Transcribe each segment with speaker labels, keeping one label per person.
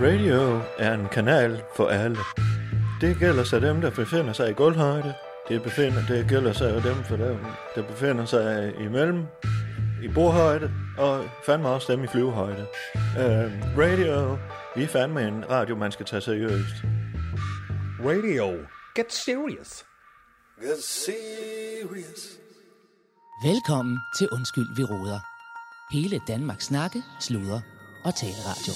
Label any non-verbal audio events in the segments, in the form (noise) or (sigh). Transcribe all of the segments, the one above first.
Speaker 1: Radio er en kanal for alle. Det gælder sig dem, der befinder sig i gulvhøjde. Det, befinder, det gælder sig jo dem for dem, der befinder sig imellem, i bordhøjde, og fandme også dem i flyvehøjde. Øh, radio, vi er fandme en radio, man skal tage seriøst.
Speaker 2: Radio. Get serious.
Speaker 3: Velkommen til Undskyld, vi råder. Hele Danmarks snakke, sludre og taleradio.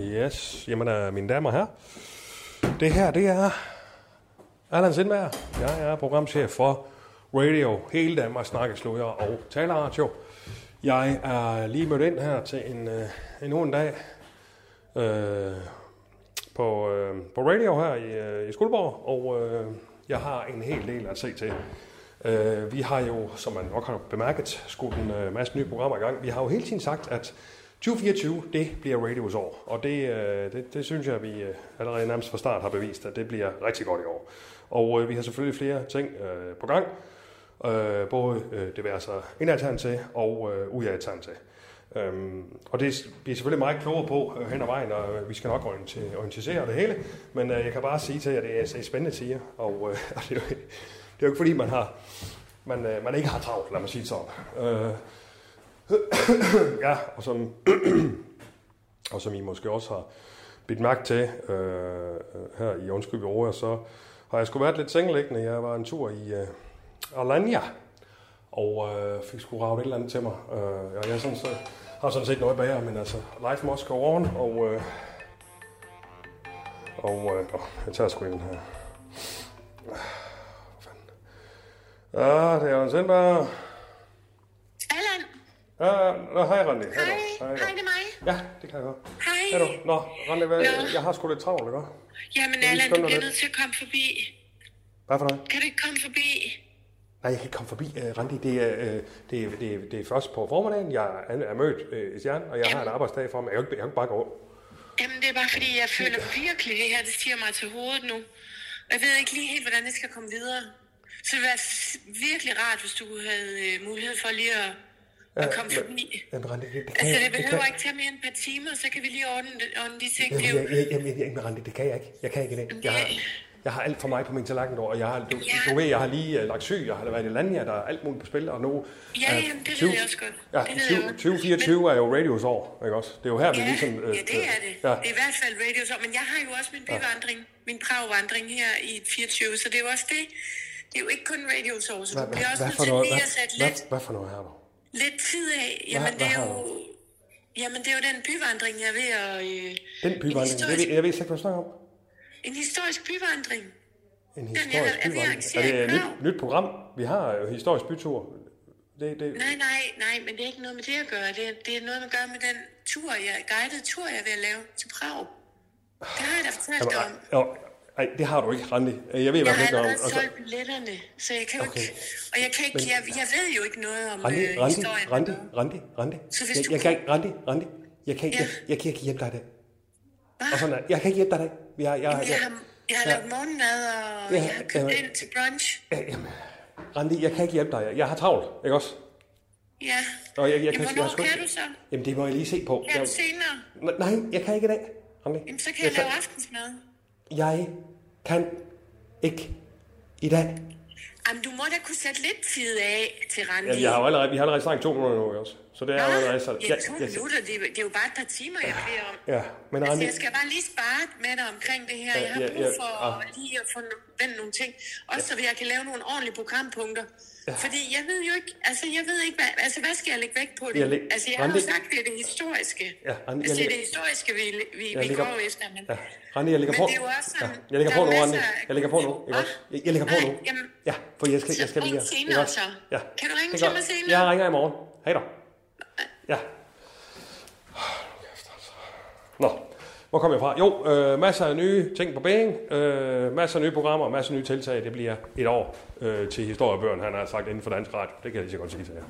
Speaker 2: Yes, jamen øh, mine damer og herrer. Det her, det er Allan Sindberg. Jeg er programchef for Radio Hele Danmark Snakke, Sludder og Taleradio. Jeg er lige mødt ind her til en, øh, endnu en dag øh, på, øh, på radio her i, øh, i Skuldborg, og øh, jeg har en hel del at se til. Øh, vi har jo, som man nok har bemærket, skudt en øh, masse nye programmer i gang. Vi har jo hele tiden sagt, at 2024, det bliver radios år, og det, øh, det, det synes jeg, vi øh, allerede nærmest fra start har bevist, at det bliver rigtig godt i år. Og øh, vi har selvfølgelig flere ting øh, på gang, øh, både øh, diverse indadtegn til og øh, udadtegn til. Øhm, og det s- bliver selvfølgelig meget klogere på øh, hen ad vejen, og øh, vi skal nok oriente- orientere det hele. Men øh, jeg kan bare sige til jer, at det er, det er spændende tider, og øh, (laughs) og det, er jo, ikke- det er jo ikke fordi, man, har, man, øh, man ikke har travlt, lad mig sige det sådan. Øh, (coughs) ja, og som, (coughs) og som I måske også har bidt mærke til øh, her i Undskyld vi råder, så har jeg sgu været lidt sengelæggende. Jeg var en tur i øh, Alanya, og øh, fik sgu ravet et eller andet til mig. Øh, og jeg er sådan, så, har sådan set noget bager, men altså, life must go on, og, øh, og øh, åh, jeg tager sgu en her. Ah, for fanden. Ja, det er Jørgen Sindberg.
Speaker 4: Allan,
Speaker 2: Ja, nå, hej Randi. Hej.
Speaker 4: hej.
Speaker 2: Hej.
Speaker 4: Hej, det er mig.
Speaker 2: Ja, det kan jeg godt.
Speaker 4: Hej.
Speaker 2: Er du? Nå, Randi, hvad,
Speaker 4: Nå.
Speaker 2: jeg har sgu lidt travlt, ikke?
Speaker 4: Jamen
Speaker 2: lige
Speaker 4: Allan,
Speaker 2: skynde
Speaker 4: du
Speaker 2: dig
Speaker 4: bliver
Speaker 2: lidt.
Speaker 4: nødt til at komme forbi.
Speaker 2: Hvad for dig?
Speaker 4: Kan du ikke komme forbi?
Speaker 2: Nej, jeg kan ikke komme forbi, uh, Randi. Det er, øh, det, er, det, er, det er først på formiddagen. Jeg er, er mødt øh, i stjernen, og jeg har en arbejdsdag for mig. Jeg kan ikke, jeg kan ikke bare gå.
Speaker 4: Jamen det er bare fordi, jeg føler virkelig det her, det stiger mig til hovedet nu. Og Jeg ved ikke lige helt, hvordan jeg skal komme videre. Så det ville være s- virkelig rart, hvis du havde øh, mulighed for lige at, at komme forbi.
Speaker 2: Jamen, Randi, det, det kan
Speaker 4: Altså
Speaker 2: jeg
Speaker 4: det behøver
Speaker 2: kan-
Speaker 4: ikke tage mere end et par timer, så kan vi lige ordne, det- ordne de ting. Det
Speaker 2: Jamen,
Speaker 4: er jo,
Speaker 2: jeg, jeg, jamen, jeg, jamen, Randi, det kan jeg ikke. Jeg kan ikke det. Jeg har, jeg har alt for mig på min tallerken, og jeg har, du,
Speaker 4: Ja.
Speaker 2: du ved, jeg har lige uh, lagt syg, jeg har været i Lanja, der er alt muligt på spil, og nu...
Speaker 4: Ja,
Speaker 2: øh,
Speaker 4: jamen, det ved
Speaker 2: 20
Speaker 4: jeg også godt.
Speaker 2: Ja,
Speaker 4: Det ved jeg
Speaker 2: 20
Speaker 4: godt.
Speaker 2: 2024 er jo radios år, ikke også? Det er jo her, vi
Speaker 4: Ja,
Speaker 2: ligesom... øh,
Speaker 4: ja, det er det.
Speaker 2: Ja.
Speaker 4: Det er i hvert fald radio. Så, men jeg har jo også min byvandring, min Prag-vandring her i 24, så det er jo også det. Det er jo ikke kun radio så du
Speaker 2: Hvad, hvad,
Speaker 4: bliver også
Speaker 2: hvad,
Speaker 4: nødt
Speaker 2: for
Speaker 4: til
Speaker 2: noget,
Speaker 4: lige at
Speaker 2: hvad,
Speaker 4: sætte
Speaker 2: hvad,
Speaker 4: lidt,
Speaker 2: hvad for noget her du?
Speaker 4: lidt tid af. Jamen,
Speaker 2: hvad
Speaker 4: det er
Speaker 2: har
Speaker 4: jo... Jamen, det er jo den byvandring, jeg er ved at... Øh,
Speaker 2: Den byvandring,
Speaker 4: historisk-
Speaker 2: jeg, ved- jeg ved slet ikke, hvad du snakker om.
Speaker 4: en historisk byvandring.
Speaker 2: En
Speaker 4: jeg
Speaker 2: historisk
Speaker 4: er ved at
Speaker 2: byvandring. Er
Speaker 4: arrangere
Speaker 2: det
Speaker 4: i
Speaker 2: et
Speaker 4: Prag.
Speaker 2: nyt, nyt program? Vi har jo historisk bytur. Det, det,
Speaker 4: Nej, nej, nej, men det er ikke noget med det at gøre. Det er, det er noget med at gøre med den tur, jeg, guidede tur, jeg er ved at lave til Prag. Det har jeg da fortalt dig om.
Speaker 2: Jamen, ej, jo, ej, det har du ikke, Randi. Jeg ved i
Speaker 4: Jeg
Speaker 2: hvert fald
Speaker 4: har
Speaker 2: ikke,
Speaker 4: allerede
Speaker 2: om... altså,
Speaker 4: solgt billetterne, så jeg kan jo
Speaker 2: Okay.
Speaker 4: ikke... Og jeg, kan ikke, jeg, jeg ved jo ikke noget om
Speaker 2: Randi,
Speaker 4: øh,
Speaker 2: Randi,
Speaker 4: historien.
Speaker 2: Randi, Randi, Randi.
Speaker 4: Så hvis
Speaker 2: Jeg,
Speaker 4: du
Speaker 2: jeg kan
Speaker 4: kan-
Speaker 2: ikke, Randi, Randi. Jeg kan, ikke- jeg, jeg kan ikke hjælpe dig i dag. Og sådan, er det. jeg kan ikke hjælpe dig i dag. Jeg, jeg, jeg,
Speaker 4: Jeg har, jeg har
Speaker 2: Ja.
Speaker 4: lavet morgenmad, og
Speaker 2: Ja,
Speaker 4: jeg har købt
Speaker 2: ja.
Speaker 4: ind til brunch.
Speaker 2: jeg, jamen, Randi, jeg kan ikke hjælpe dig. Jeg, jeg har travlt, ikke også?
Speaker 4: Ja.
Speaker 2: Og jeg, jeg
Speaker 4: Jamen,
Speaker 2: jeg har
Speaker 4: hvornår
Speaker 2: sgu ikke-
Speaker 4: kan du så?
Speaker 2: Jamen, det må jeg lige se på.
Speaker 4: Kan
Speaker 2: Jeg,
Speaker 4: du senere?
Speaker 2: nej, jeg kan ikke i dag, Randi.
Speaker 4: Jamen, så kan jeg lave aftensmad.
Speaker 2: Jeg kan ikke i dag.
Speaker 4: Jamen, du må da kunne sætte lidt tid af til Randi.
Speaker 2: Ja, vi har jo allerede, vi har allerede snakket to minutter nu, ikke også? Så det er jo
Speaker 4: Ah,
Speaker 2: allerede sådan.
Speaker 4: ja, to minutter, det, er- det er jo bare et par timer, jeg beder om.
Speaker 2: Ja, men
Speaker 4: Altså,
Speaker 2: Randi,
Speaker 4: jeg skal bare lige spare med dig omkring det her.
Speaker 2: Ja,
Speaker 4: Jeg har
Speaker 2: ja,
Speaker 4: brug
Speaker 2: ja,
Speaker 4: for
Speaker 2: ah.
Speaker 4: lige at få no- vendt nogle ting. Også så jeg kan lave nogle ordentlige programpunkter. Fordi jeg ved jo ikke, altså jeg ved ikke, hvad, altså hvad skal jeg lægge vægt på det?
Speaker 2: Jeg læg-
Speaker 4: altså jeg har jo
Speaker 2: Randi-
Speaker 4: sagt, det er det historiske.
Speaker 2: Ja, Randi,
Speaker 4: altså det
Speaker 2: jeg
Speaker 4: er
Speaker 2: lægger-
Speaker 4: det historiske, vi, vi,
Speaker 2: jeg
Speaker 4: vi
Speaker 2: lægger-
Speaker 4: går efter. Men,
Speaker 2: ja, Randi, jeg lægger
Speaker 4: men
Speaker 2: på.
Speaker 4: det er jo også
Speaker 2: ja,
Speaker 4: sådan,
Speaker 2: jeg lægger
Speaker 4: der
Speaker 2: på
Speaker 4: er
Speaker 2: nu, Randi.
Speaker 4: masser af
Speaker 2: Jeg lægger på nu,
Speaker 4: kultur.
Speaker 2: ikke også? Jeg, jeg lægger på
Speaker 4: Nej,
Speaker 2: nu.
Speaker 4: jamen,
Speaker 2: Ja, for jeg skal,
Speaker 4: så
Speaker 2: jeg skal
Speaker 4: ring
Speaker 2: lige her.
Speaker 4: senere
Speaker 2: ikke også?
Speaker 4: så.
Speaker 2: Ja.
Speaker 4: Kan du ringe
Speaker 2: Det er
Speaker 4: til
Speaker 2: godt.
Speaker 4: mig senere?
Speaker 2: Jeg ringer i morgen. Hej da. Ja. Nå, Hvor kom jeg fra? Jo, øh, masser af nye ting på banen, øh, masser af nye programmer, masser af nye tiltag. Det bliver et år øh, til historiebøgerne, han har sagt inden for dansk radio. Det kan jeg lige så godt sige til jer.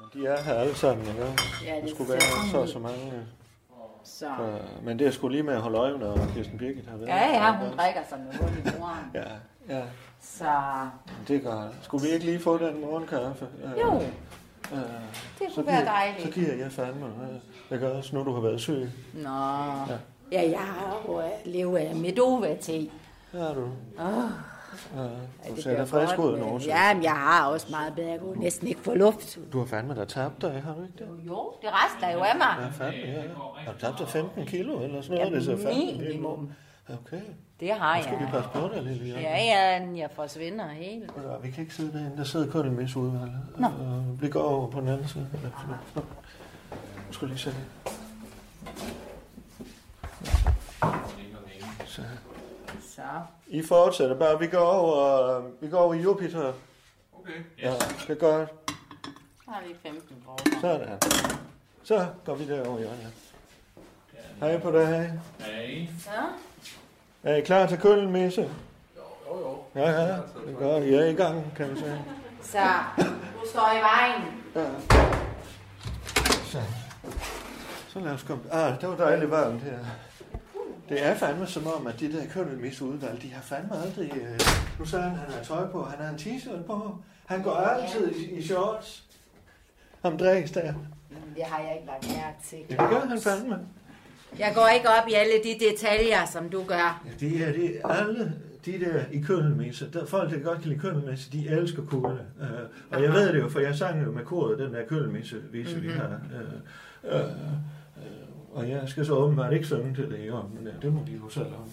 Speaker 1: Men de er her alle sammen, ikke?
Speaker 5: Ja,
Speaker 1: Der
Speaker 5: det
Speaker 1: skulle
Speaker 5: ser
Speaker 1: være
Speaker 5: sådan
Speaker 1: så og
Speaker 5: ud.
Speaker 1: så mange.
Speaker 5: Så.
Speaker 1: øh, Men det er sgu lige med at holde øje, når Kirsten Birgit har været.
Speaker 5: Ja, ja, hun drikker sig med hul i moren.
Speaker 1: Ja, ja,
Speaker 5: Så
Speaker 1: det gør jeg. Skulle vi ikke lige få den morgenkaffe? Øh,
Speaker 5: jo,
Speaker 1: øh,
Speaker 5: det
Speaker 1: så
Speaker 5: kunne være
Speaker 1: giver- Så
Speaker 5: dejligt.
Speaker 1: giver jeg fandme noget. Jeg gør også, når du har været syg.
Speaker 5: Nå. Ja, jeg har jo øh, levet af medova-te.
Speaker 1: Ja, du.
Speaker 5: Ja,
Speaker 1: du
Speaker 5: Ah. det
Speaker 1: ser
Speaker 5: bliver
Speaker 1: da frisk
Speaker 5: godt,
Speaker 1: ud,
Speaker 5: men-
Speaker 1: Norge.
Speaker 5: Jamen, jeg har også meget bedre. Jeg kunne næsten ikke få luft.
Speaker 1: Du har fandme da tabt dig, har du ikke det?
Speaker 5: Jo, det rester jo af mig.
Speaker 1: Ja, fandme, ja. Har du tabt dig 15 kilo eller sådan noget?
Speaker 5: Ja,
Speaker 1: det ser fandme vildt ud.
Speaker 5: minimum.
Speaker 1: Okay,
Speaker 5: Det har
Speaker 1: nu skal vi
Speaker 5: jeg.
Speaker 1: passe på dig, Lilian.
Speaker 5: Ja, ja, jeg forsvinder helt.
Speaker 1: Ved du hvad, Vi kan ikke sidde derinde. Der sidder kun en vis udvalg. Øh, Vi går over på den anden side. Eller, eller, nå. Nu skal jeg lige sætte ind. Så.
Speaker 5: Så.
Speaker 1: I fortsætter bare. Vi går over, øh, vi går over i Jupiter.
Speaker 6: Okay.
Speaker 1: Ja, det er godt.
Speaker 5: har vi 15 kroner.
Speaker 1: Sådan. Så går vi derover, Jørgen. Hej på dig.
Speaker 6: Hey.
Speaker 5: Så.
Speaker 1: Er I klar til køllen, Misse?
Speaker 6: Jo, jo.
Speaker 1: Ja, ja. Det er godt. I er i gang, kan man sige.
Speaker 5: Så. Du står i vejen.
Speaker 1: Så, så lad os komme. Ah, det var dejligt varmt her. Det er fandme som om, at de der køndelmis udvalg, de har fandme aldrig... Øh, nu sagde han, han har tøj på, han har en t-shirt på. Han går altid i, i shorts. Ham dræs der.
Speaker 5: Det har jeg ikke lagt mærke til.
Speaker 1: Det gør han fandme.
Speaker 5: Jeg går ikke op i alle de detaljer, som du gør.
Speaker 1: Ja, det er det er alle de der i køndelmisse. Der, folk, der godt kan lide køndelmisse, de elsker kugle. Øh, og jeg ved det jo, for jeg sang jo med koret, den der køndelmisse, vise mm-hmm. vi
Speaker 5: Mhm.
Speaker 1: har. Øh, øh, øh, og jeg skal så åbenbart ikke synge til det i år, men øh, det må de jo selv om.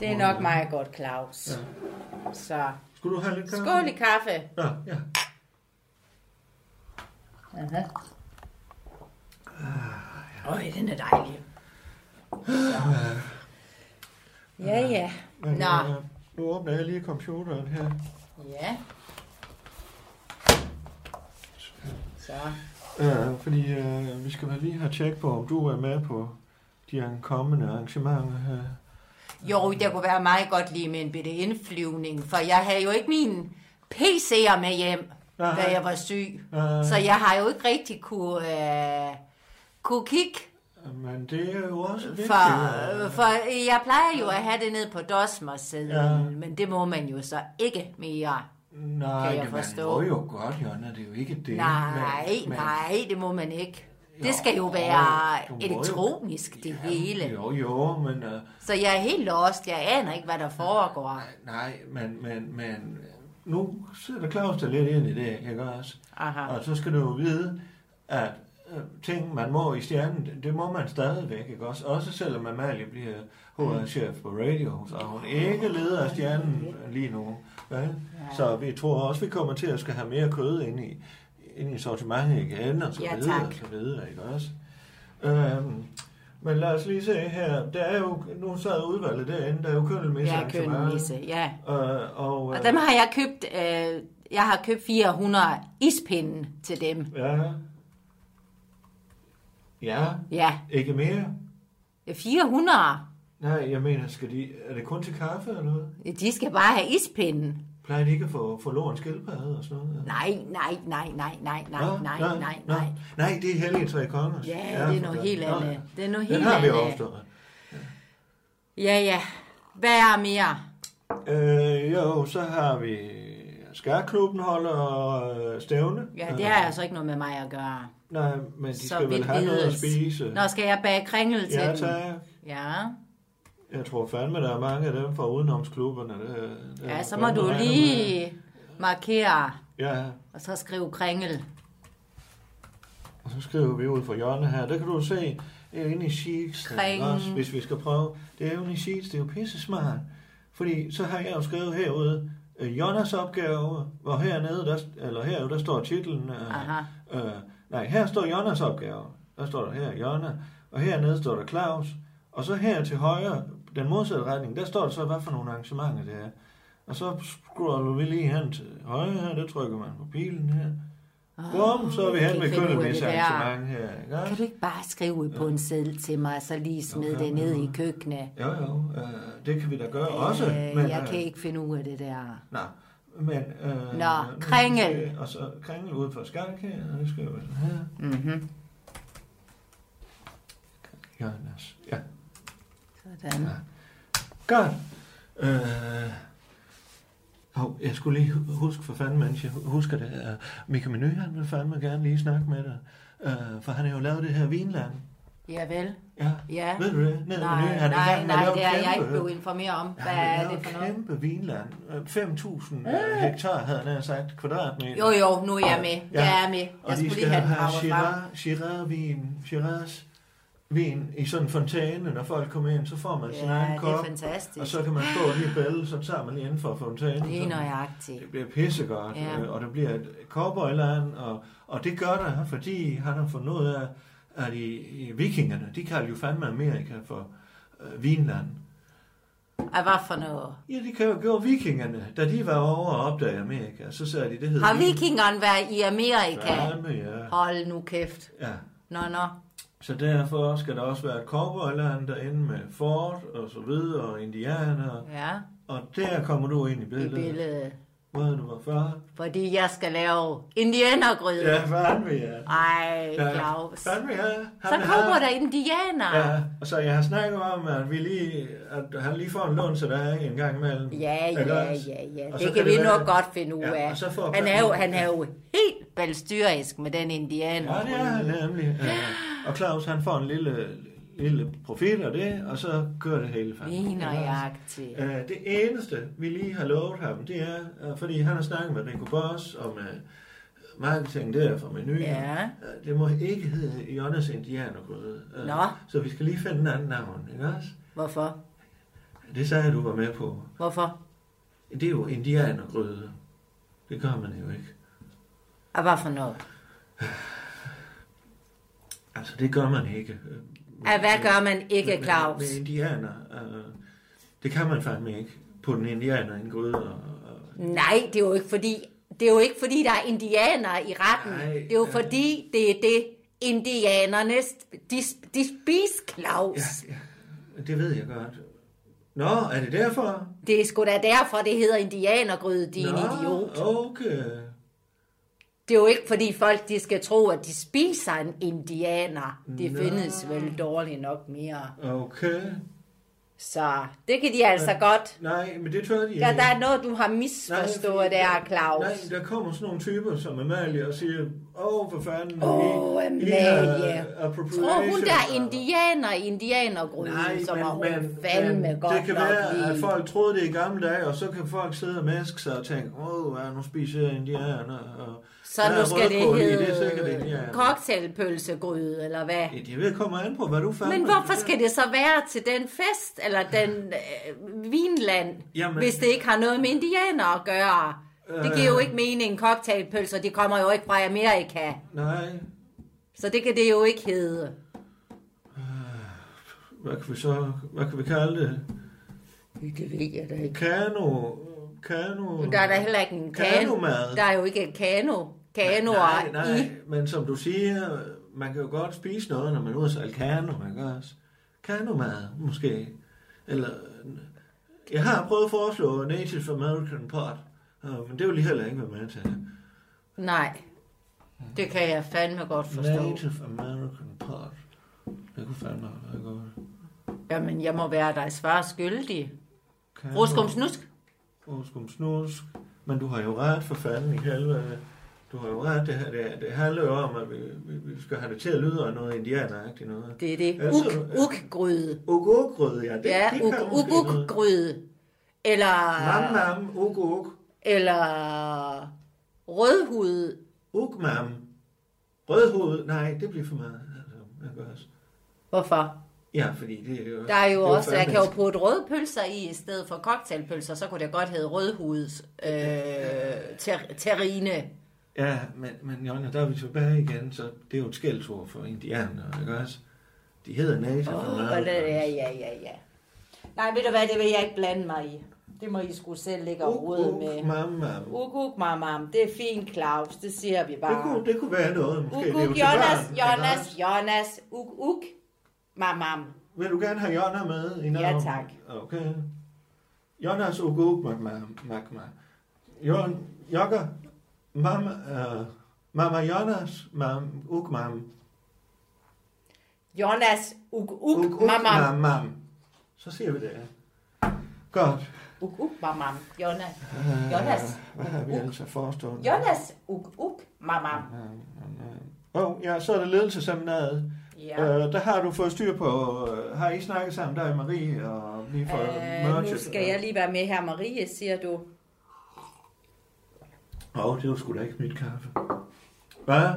Speaker 5: Det er nok mig godt, Claus. Så.
Speaker 1: Skulle du have lidt kaffe?
Speaker 5: Skål i kaffe.
Speaker 1: Ja, ja.
Speaker 5: Øj, den er dejlig. Så. Ja, ja.
Speaker 1: Men,
Speaker 5: Nå.
Speaker 1: Øh, nu åbner jeg lige computeren her.
Speaker 5: Ja. Så.
Speaker 1: Øh, fordi øh, vi skal vel lige have tjek på, om du er med på de kommende arrangementer her.
Speaker 5: Jo, det kunne være meget godt lige med en bitte indflyvning, for jeg havde jo ikke min PC'er med hjem,
Speaker 1: Nej.
Speaker 5: da jeg var syg.
Speaker 1: Nej.
Speaker 5: Så jeg har jo ikke rigtig kunne, øh, kunne kigge,
Speaker 1: Men det er jo også vigtigt.
Speaker 5: for,
Speaker 1: øh.
Speaker 5: øh, for jeg plejer jo at have det nede på dosmersiden,
Speaker 1: Ja.
Speaker 5: ja. men det må man jo så ikke mere.
Speaker 1: Nej,
Speaker 5: kan jeg
Speaker 1: det man
Speaker 5: forstå.
Speaker 1: må jo godt, Jonna, det er jo ikke det.
Speaker 5: Nej,
Speaker 1: Men- men-
Speaker 5: nej, det må man ikke.
Speaker 1: Jo,
Speaker 5: Det skal jo være
Speaker 1: du må jo-
Speaker 5: elektronisk, det hele.
Speaker 1: Jo, jo, men... Uh,
Speaker 5: Så jeg er helt lost. Jeg aner ikke, hvad der foregår.
Speaker 1: nej, men, men, men... øh, Nu sidder Claus der lidt ind i det, ikke også?
Speaker 5: Aha.
Speaker 1: Og så skal du jo vide, at øh, ting, man må i stjernen, det- det må man stadigvæk, ikke også? Også selvom Amalie bliver HR-chef på radio, så er hun ikke leder af stjernen lige nu. Vel? Så vi tror også, vi kommer til at skal have mere kød ind i, ind i sortimentet igen, og så
Speaker 5: Ja,
Speaker 1: videre,
Speaker 5: tak.
Speaker 1: og så videre, ikke også? Øhm, men lad os lige se her. Der er jo, nu sad udvalget derinde, der er jo køndelmisse.
Speaker 5: Jeg er kønmisse, ja.
Speaker 1: Øh, og,
Speaker 5: Og
Speaker 1: øh,
Speaker 5: dem har jeg købt, øh, jeg har købt 400 ispinde til dem.
Speaker 1: Ja. Ja,
Speaker 5: Ja,
Speaker 1: ikke mere.
Speaker 5: 400.
Speaker 1: Nej, jeg mener, skal de, er det kun til kaffe eller noget?
Speaker 5: De skal bare have ispinde.
Speaker 1: Plejer de ikke at få, få låren skildpadde og sådan noget?
Speaker 5: Nej, nej, nej, nej, nej, nej,
Speaker 1: Nå,
Speaker 5: nej,
Speaker 1: nå,
Speaker 5: nej,
Speaker 1: nå.
Speaker 5: nej.
Speaker 1: Nej, det er hellige tre konger.
Speaker 5: Ja, det er noget helt andet. Det er noget
Speaker 1: Den
Speaker 5: helt
Speaker 1: har vi
Speaker 5: andet.
Speaker 1: overstået.
Speaker 5: Ja, ja. Hvad er mere?
Speaker 1: Øh, jo, så har vi skærklubben holder øh, stævne.
Speaker 5: Ja, det har altså ikke noget med mig at gøre.
Speaker 1: Nej, men de
Speaker 5: Så
Speaker 1: skal vel
Speaker 5: vidt
Speaker 1: have noget at
Speaker 5: vides.
Speaker 1: spise.
Speaker 5: Nå, skal jeg bage kringel til
Speaker 1: ja,
Speaker 5: dem?
Speaker 1: tak.
Speaker 5: Ja,
Speaker 1: Jeg tror fandme, der er mange af dem fra udenomsklubberne. Der, der
Speaker 5: ja, så må du
Speaker 1: regner med.
Speaker 5: lige markere,
Speaker 1: Ja,
Speaker 5: og så skrive kringel.
Speaker 1: Og så skriver vi ud for hjørnet her. Der kan du se, det er inde i Sheets, der,
Speaker 5: Kring.
Speaker 1: ikke også, hvis vi skal prøve. Det er jo inde i Sheets, det er jo pisse smart. Fordi så har jeg jo skrevet herude, øh, Jonas opgave, hvor hernede, der, eller herude, der står titlen.
Speaker 5: Aha.
Speaker 1: Øh, øh, nej, her står Jonas opgave. Der står der her, Jonna. Og hernede står der Claus. Og så her til højre, den modsatte retning, der står der så, hvad for nogle arrangementer det er. Og så scroller vi lige hen til højre her, der trykker man på pilen her. Bum, så er vi
Speaker 5: jeg
Speaker 1: hen
Speaker 5: Ah, kan
Speaker 1: ved
Speaker 5: ikke finde ud af det der.
Speaker 1: kønnemisarrangement her. Ikke?
Speaker 5: Kan du ikke bare skrive ud på en seddel til mig, og så lige smide det ned i køkkenet?
Speaker 1: Jo, jo, øh, det kan vi da gøre også.
Speaker 5: Øh, jeg
Speaker 1: øh,
Speaker 5: kan ikke finde ud af det der.
Speaker 1: Nå, men... Øh,
Speaker 5: Nå,
Speaker 1: men-
Speaker 5: Kringel.
Speaker 1: Og så kringel ude for skak her, og det skal jo være sådan her.
Speaker 5: Mm-hmm.
Speaker 1: Ja, Anders. Ja,
Speaker 5: Sådan.
Speaker 1: godt. Øh, hov, jeg skulle lige hu- huske for fanden, mens jeg hu- husker det. Øh, Mika Meny, han vil fandme gerne lige snakke med dig. Øh, for han har jo lavet det her vinland.
Speaker 5: Ja vel.
Speaker 1: Ja.
Speaker 5: Ja.
Speaker 1: Ved du det? Ned
Speaker 5: Nej,
Speaker 1: Meny, han er i
Speaker 5: nej,
Speaker 1: gang med at
Speaker 5: nej,
Speaker 1: lave
Speaker 5: det er jeg
Speaker 1: kæmpe-
Speaker 5: ikke blevet informeret om. Hvad
Speaker 1: Han har
Speaker 5: er det
Speaker 1: lavet
Speaker 5: for noget?
Speaker 1: kæmpe vinland. Øh, 5.000 øh, hektar, havde han nær sagt, kvadratmeter.
Speaker 5: Jo, jo, nu er jeg med.
Speaker 1: Ja.
Speaker 5: Jeg er med.
Speaker 1: Og de
Speaker 5: Jeg skulle
Speaker 1: skal
Speaker 5: lige have den
Speaker 1: have
Speaker 5: gravet frem.
Speaker 1: Shiraz, Shiraz-vin, Shiraz vin i sådan en fontæne, når folk kommer ind, så får man sin
Speaker 5: Ja,
Speaker 1: egen
Speaker 5: det er
Speaker 1: kop,
Speaker 5: fantastisk.
Speaker 1: og så kan man stå og lige bælge, så tager man lige inden for fontænen.
Speaker 5: Lige
Speaker 1: sådan.
Speaker 5: nøjagtigt.
Speaker 1: Det bliver pissegodt,
Speaker 5: Ja.
Speaker 1: ja. og det bliver et cowboyland, og, og det gør der, fordi han har fundet ud af, at i, i vikingerne, de kalder jo fandme Amerika for øh, vinland.
Speaker 5: Ej, hvad for noget?
Speaker 1: Ja, de kan jo gøre vikingerne, da de var over og opdagede Amerika, så sagde de, det hedder
Speaker 5: Har vikingerne været i Amerika?
Speaker 1: Fandme, ja.
Speaker 5: Hold nu kæft.
Speaker 1: ja.
Speaker 5: Nå, nå.
Speaker 1: Så derfor skal der også være cowboyland derinde med Ford og så videre og indianer.
Speaker 5: Ja,
Speaker 1: Og der kommer du ind i
Speaker 5: i
Speaker 1: billedet.
Speaker 5: billedet.
Speaker 1: Hvor du var før.
Speaker 5: Fordi jeg skal lave indianergryde.
Speaker 1: Ja, fandme ja.
Speaker 5: Ej,
Speaker 1: Ja,
Speaker 5: Claus.
Speaker 1: fandme ja.
Speaker 5: Så
Speaker 1: Han er
Speaker 5: kommer
Speaker 1: her.
Speaker 5: der indianer.
Speaker 1: Ja, og så jeg har snakket om, at, vi lige, at han lige får en lån til dig en gang imellem.
Speaker 5: Ja,
Speaker 1: Ikke
Speaker 5: ja,
Speaker 1: også?
Speaker 5: ja, ja.
Speaker 1: Og så
Speaker 5: Det kan vi
Speaker 1: være-
Speaker 5: nok godt finde ud
Speaker 1: Ja,
Speaker 5: af.
Speaker 1: og så får
Speaker 5: Han er jo,
Speaker 1: børnene-
Speaker 5: han er jo helt balstyrisk med den indianer.
Speaker 1: Ja, det er han nemlig. Ja. Og Claus, han får en lille, lille profil af det, og så kører det hele fandme.
Speaker 5: Lige
Speaker 1: Ikke også?
Speaker 5: nøjagtigt.
Speaker 1: Øh, det eneste, vi lige har lovet ham, det er, øh, fordi han har snakket med Rico Boss og med marketing der fra menuen.
Speaker 5: Ja.
Speaker 1: Øh, det må ikke hedde Jonas Indianergrøde. Øh,
Speaker 5: Nå.
Speaker 1: Så vi skal lige finde en anden navn, ikke også?
Speaker 5: Hvorfor?
Speaker 1: Det sagde jeg, du var med på.
Speaker 5: Hvorfor?
Speaker 1: Det er jo Indianergrøde. Det gør man jo ikke.
Speaker 5: Og hvad for noget?
Speaker 1: Altså, det gør man ikke. øh,
Speaker 5: Ah, hvad gør man ikke,
Speaker 1: med-
Speaker 5: Claus?
Speaker 1: Med, med indianer. Øh, det kan man fandme ikke. På den indianer i en gryde. Og, og,
Speaker 5: Nej, det er jo ikke fordi, det er jo ikke fordi, der er indianer i retten.
Speaker 1: Nej,
Speaker 5: det er jo
Speaker 1: øh.
Speaker 5: fordi, det er det, indianerne, sp- de, sp- de spiser Claus.
Speaker 1: ja, ja, det ved jeg godt. Nå, er det derfor?
Speaker 5: Det er sgu da derfor, det hedder indianergryde, din
Speaker 1: Nå,
Speaker 5: idiot.
Speaker 1: okay.
Speaker 5: Det er jo ikke fordi folk de skal tro, at de spiser en indianer. Det
Speaker 1: Nå.
Speaker 5: findes vel dårligt nok mere.
Speaker 1: Okay.
Speaker 5: Så det kan de altså godt.
Speaker 1: Nej, men det tør de ikke.
Speaker 5: Der, der er noget, du har
Speaker 1: Nej,
Speaker 5: misforstået
Speaker 1: fordi-
Speaker 5: der, Claus.
Speaker 1: Nej, der kommer sådan nogle typer som Amalie og siger, åh, oh, for fanden.
Speaker 5: Åh, oh,
Speaker 1: I- I
Speaker 5: Amalie.
Speaker 1: har appropriation."
Speaker 5: Tror hun, der er indianer i indianergryden,
Speaker 1: Nej,
Speaker 5: som har
Speaker 1: men,
Speaker 5: hun
Speaker 1: men,
Speaker 5: fandme
Speaker 1: men
Speaker 5: godt
Speaker 1: det kan
Speaker 5: nok
Speaker 1: være, at
Speaker 5: lide.
Speaker 1: folk troede det i gamle dage, og så kan folk sidde og maske sig og tænke, åh, oh, nu spiser jeg indianer. Og
Speaker 5: Så
Speaker 1: der er
Speaker 5: nu skal det
Speaker 1: rødkål i, Det er sikkert
Speaker 5: hedde
Speaker 1: indianer.
Speaker 5: cocktailpølsegryde, eller hvad?
Speaker 1: Ja, det ved- kommer an på, hvad du fandme...
Speaker 5: Men hvorfor skal det så være til den fest, eller den øh, vinland, Jamen.
Speaker 1: Jamen- Øh.
Speaker 5: hvis det ikke har noget med indianer at gøre? Det giver jo ikke mening. Cocktailpølser, de kommer jo ikke fra Amerika.
Speaker 1: Nej,
Speaker 5: Så det kan det jo ikke hedde.
Speaker 1: hvad kan vi så... Hvad kan vi kalde det?
Speaker 5: Det ved jeg da ikke.
Speaker 1: Kano... Kano...
Speaker 5: Der er da heller ikke en kano.
Speaker 1: Kanomad.
Speaker 5: Der er jo ikke en kano. Kanoer
Speaker 1: nej, nej,
Speaker 5: i.
Speaker 1: men som du siger, man kan jo godt spise noget, når man er ude at sejle kano, man kan også. Kanomad, måske. Eller, jeg har prøvet at foreslå Native American Pot, øh, men det vil de heller ikke være med til.
Speaker 5: Nej. Det kan jeg fandme godt forstå.
Speaker 1: Native American Pot. Det kunne fandme være godt.
Speaker 5: Jamen, jeg må være dig svar skyldig.
Speaker 1: Kano-
Speaker 5: Ruskum snusk.
Speaker 1: Ruskum snusk. Men du har jo ret for fanden i helvede. Du har jo ret, det, her- det, det handler jo om, at vi, vi, vi skal have det til at lyde af noget indianeragtigt noget.
Speaker 5: Det er det.
Speaker 1: Ja,
Speaker 5: Uk,
Speaker 1: så-
Speaker 5: uk-gryde.
Speaker 1: Ugogrød, ja. Det,
Speaker 5: Ja,
Speaker 1: det
Speaker 5: uk, uk, uk, gryde. Eller,
Speaker 1: Mam, mam, uk, uk.
Speaker 5: eller rødhud.
Speaker 1: Uk, mam. Rødhoved, nej, det bliver for meget. Altså, jeg gør også.
Speaker 5: Hvorfor?
Speaker 1: Ja, fordi det er jo...
Speaker 5: Der er jo
Speaker 1: det
Speaker 5: også, jeg
Speaker 1: fandme-
Speaker 5: kan jo putte rødpølser i, i stedet for cocktailpølser, så kunne det godt hedde rødhuds øh, ter, terrine.
Speaker 1: Ja, men, men Jonna, der er vi tilbage igen, så det er jo et skældsord for indianer, ikke også? De hedder Native
Speaker 5: Åh,
Speaker 1: Americans.
Speaker 5: ja, ja, ja, ja. Nej, ved du hvad, det vil jeg ikke blande mig i. Det må I sgu selv lægge og rode med.
Speaker 1: mamma.
Speaker 5: Uk, uk, mamam. Det er fint, Claus. Det siger vi
Speaker 1: Det
Speaker 5: bare.
Speaker 1: kunne, det kunne være noget, måske.
Speaker 5: Uk,
Speaker 1: det er jo
Speaker 5: uk,
Speaker 1: til
Speaker 5: Jonas,
Speaker 1: børn,
Speaker 5: Jonas,
Speaker 1: ikke også?
Speaker 5: Jonas. Uk, uk, mamam.
Speaker 1: Vil du gerne have Jonna med? I navn?
Speaker 5: tak.
Speaker 1: Okay. Jonas Ugug Magma. Jon, Jokker, mam, uh, Mama Jonas, mam, Ugmam,
Speaker 5: Jonas, uk, uk, mamam.
Speaker 1: Ugmam, mam. Så siger vi det. Godt.
Speaker 5: Uk, uk, mamam. Jonas, Jonas,
Speaker 1: Hvad har vi altså forestået?
Speaker 5: Jonas, uk, uk, mamam.
Speaker 1: Oh, ja, så er det ledelseseminaret. Ja.
Speaker 5: Ja.
Speaker 1: Øh, der har du fået styr på, øh, har I snakket sammen, der er Marie og lige for
Speaker 5: Øh, nu skal jeg lige være med her, Marie, siger du.
Speaker 1: Åh, oh, det var sgu da ikke mit kaffe. Hvad?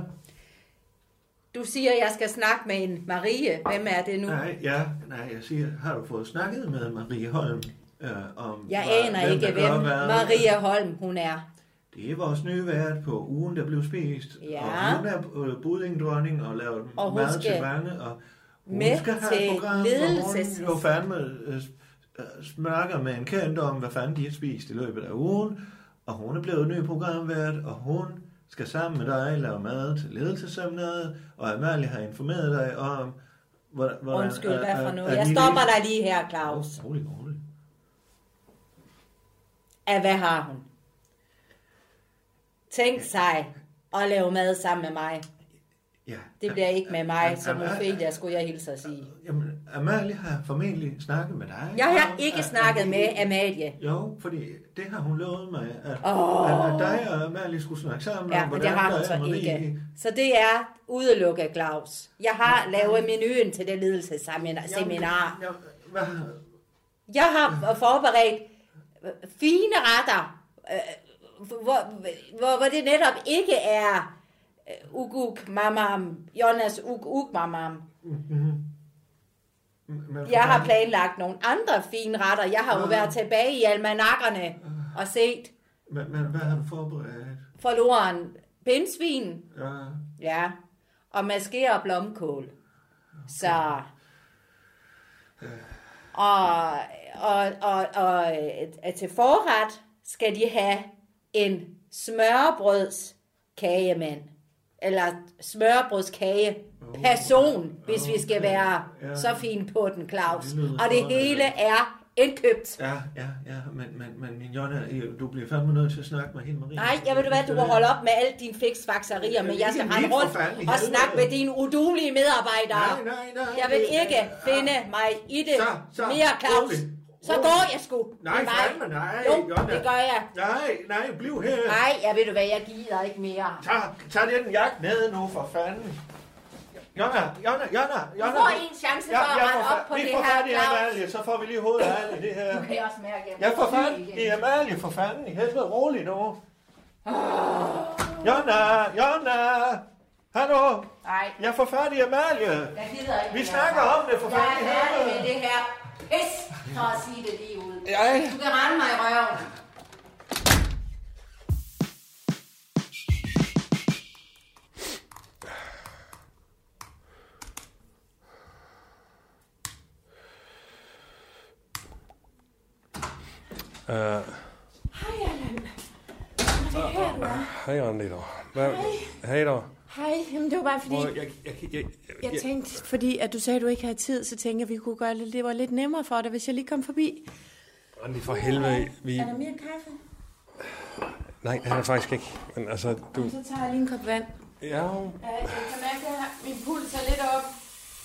Speaker 5: Du siger, jeg skal snakke med en Marie. Hvem er det nu?
Speaker 1: Nej, ja, nej, jeg siger, har du fået snakket med Marie Holm øh, om,
Speaker 5: Jeg
Speaker 1: hvad-
Speaker 5: aner ikke,
Speaker 1: der gør
Speaker 5: hvem
Speaker 1: hvad?
Speaker 5: Maria Holm hun er.
Speaker 1: Det er vores nye vært på ugen, der blev spist.
Speaker 5: Ja.
Speaker 1: Og hun er øh, budingdronning og lavet
Speaker 5: Og hun
Speaker 1: mad til
Speaker 5: skal
Speaker 1: mange. Og hun
Speaker 5: med
Speaker 1: skal have
Speaker 5: til
Speaker 1: et program,
Speaker 5: ledelses-
Speaker 1: hvor hun jo fandme øh, øh, snakker med en kendt om, hvad fanden de har spist i løbet af ugen. Og hun er blevet ny programvært, og hun skal sammen med dig lave mad til ledelsesemnet, og Amalie har informeret dig om, hvor- hvordan...
Speaker 5: Undskyld, hvad for noget?
Speaker 1: at
Speaker 5: Jeg
Speaker 1: I
Speaker 5: stopper
Speaker 1: lige-
Speaker 5: dig lige her, Claus.
Speaker 1: Åh, Rolig, rolig.
Speaker 5: Af hvad har hun? Tænk sig at lave mad sammen med mig.
Speaker 1: Ja.
Speaker 5: Det bliver ikke med mig, som
Speaker 1: Amalie-
Speaker 5: Ophelia, skulle jeg hilse at sige.
Speaker 1: Jamen, Amalie har formentlig snakket med dig.
Speaker 5: Jeg har
Speaker 1: om,
Speaker 5: ikke
Speaker 1: at-
Speaker 5: snakket
Speaker 1: at-
Speaker 5: med Amalie.
Speaker 1: Jo, fordi det har hun lovet mig, at,
Speaker 5: Åh.
Speaker 1: at, at dig og Amalie skulle snakke sammen
Speaker 5: Ja,
Speaker 1: om,
Speaker 5: men
Speaker 1: hvordan
Speaker 5: det har
Speaker 1: der
Speaker 5: hun
Speaker 1: er
Speaker 5: så
Speaker 1: Marie.
Speaker 5: ikke. Så det er udelukket, Claus. Jeg har lavet menuen til det ledelsesseminar.
Speaker 1: Jamen, hvad,
Speaker 5: Jeg har forberedt øh, fine retter, øh, hvor, hvor, hvor det netop ikke er øh, uk uk mamam, Jonas uk uk mamam.
Speaker 1: men,
Speaker 5: Jeg har planlagt nogle andre fine retter. Jeg har jo været tilbage i almanakkerne og set
Speaker 1: men, men, hvad har du forberedt?
Speaker 5: forloren pindsvin,
Speaker 1: Ja,
Speaker 5: ja, og maskere og blomkål. Så... Og, og, og, og øh, til forret skal de have en smørbrødskagemand. Eller smørbrødskage person, hvis vi skal være
Speaker 1: Ah, ja.
Speaker 5: så fin på den, Claus.
Speaker 1: Det lyder
Speaker 5: Og det
Speaker 1: godt, altså. ja.
Speaker 5: hele er indkøbt.
Speaker 1: ja, ja, ja men, men, men min Jonna, øh, du bliver fandme nødt til at snakke med hende, Marie.
Speaker 5: Nej, jeg ved du hvad, du må holde op med alle dine fiksfakserier, men jeg skal
Speaker 1: Ikke
Speaker 5: rende
Speaker 1: mit, for
Speaker 5: rundt
Speaker 1: fanden i
Speaker 5: og
Speaker 1: helvede.
Speaker 5: snakke med dine udulige medarbejdere.
Speaker 1: Nej, nej, nej.
Speaker 5: Jeg vil
Speaker 1: det- Ah.
Speaker 5: ikke finde mig i det
Speaker 1: Så, så,
Speaker 5: mere, Claus.
Speaker 1: rolig,
Speaker 5: Så
Speaker 1: rolig.
Speaker 5: går jeg sgu.
Speaker 1: Nej,
Speaker 5: Det er mig.
Speaker 1: fandme nej,
Speaker 5: Jo,
Speaker 1: Jonna.
Speaker 5: det gør jeg.
Speaker 1: Nej, nej, bliv her.
Speaker 5: Nej, jeg ved du hvad, jeg gider ikke mere.
Speaker 1: Tag, tag lige den jagt ned nu, for fanden. Jonna, Jonna, Jonna,
Speaker 5: Du
Speaker 1: Jonna.
Speaker 5: får en chance for at rette
Speaker 1: får
Speaker 5: op
Speaker 1: fa-
Speaker 5: på
Speaker 1: vi
Speaker 5: det
Speaker 1: får
Speaker 5: her,
Speaker 1: fat i
Speaker 5: Claus.
Speaker 1: Amalie, så får vi lige hovedet af alt i det her.
Speaker 5: Nu kan jeg også mærke, at
Speaker 1: Jeg får
Speaker 5: bliver
Speaker 1: fat
Speaker 5: syg
Speaker 1: i
Speaker 5: igen.
Speaker 1: Amalie, for fanden. I helvede, rolig nu. Jonna, Jonna. Hallo,
Speaker 5: Nej,
Speaker 1: jeg får fat i Amalie.
Speaker 5: jeg gider ikke
Speaker 1: Vi
Speaker 5: mere,
Speaker 1: snakker
Speaker 5: Claus.
Speaker 1: om det, for
Speaker 5: Jeg er
Speaker 1: fanden i
Speaker 5: færdig med
Speaker 1: helvede.
Speaker 5: det her. Pis, for at sige det lige ud.
Speaker 1: Jeg
Speaker 5: Du kan rende mig i røven.
Speaker 2: Uh, hej, Anne Leder. Hvad? Hej der.
Speaker 7: Hej, jamen det var bare fordi,
Speaker 2: Prøv, Jeg, jeg, jeg, jeg,
Speaker 7: jeg tænkte, fordi at du sagde, at du ikke havde tid, så tænkte jeg, at vi kunne gøre det, det var lidt nemmere for dig, hvis jeg lige kom forbi.
Speaker 2: Randi, for helvede. Vi,
Speaker 7: Er der mere kaffe?
Speaker 2: nej, det er der faktisk ikke. Men altså, du...
Speaker 7: Så tager jeg lige en kop vand.
Speaker 2: Ja,
Speaker 7: Jeg kan mærke, at min puls er lidt op.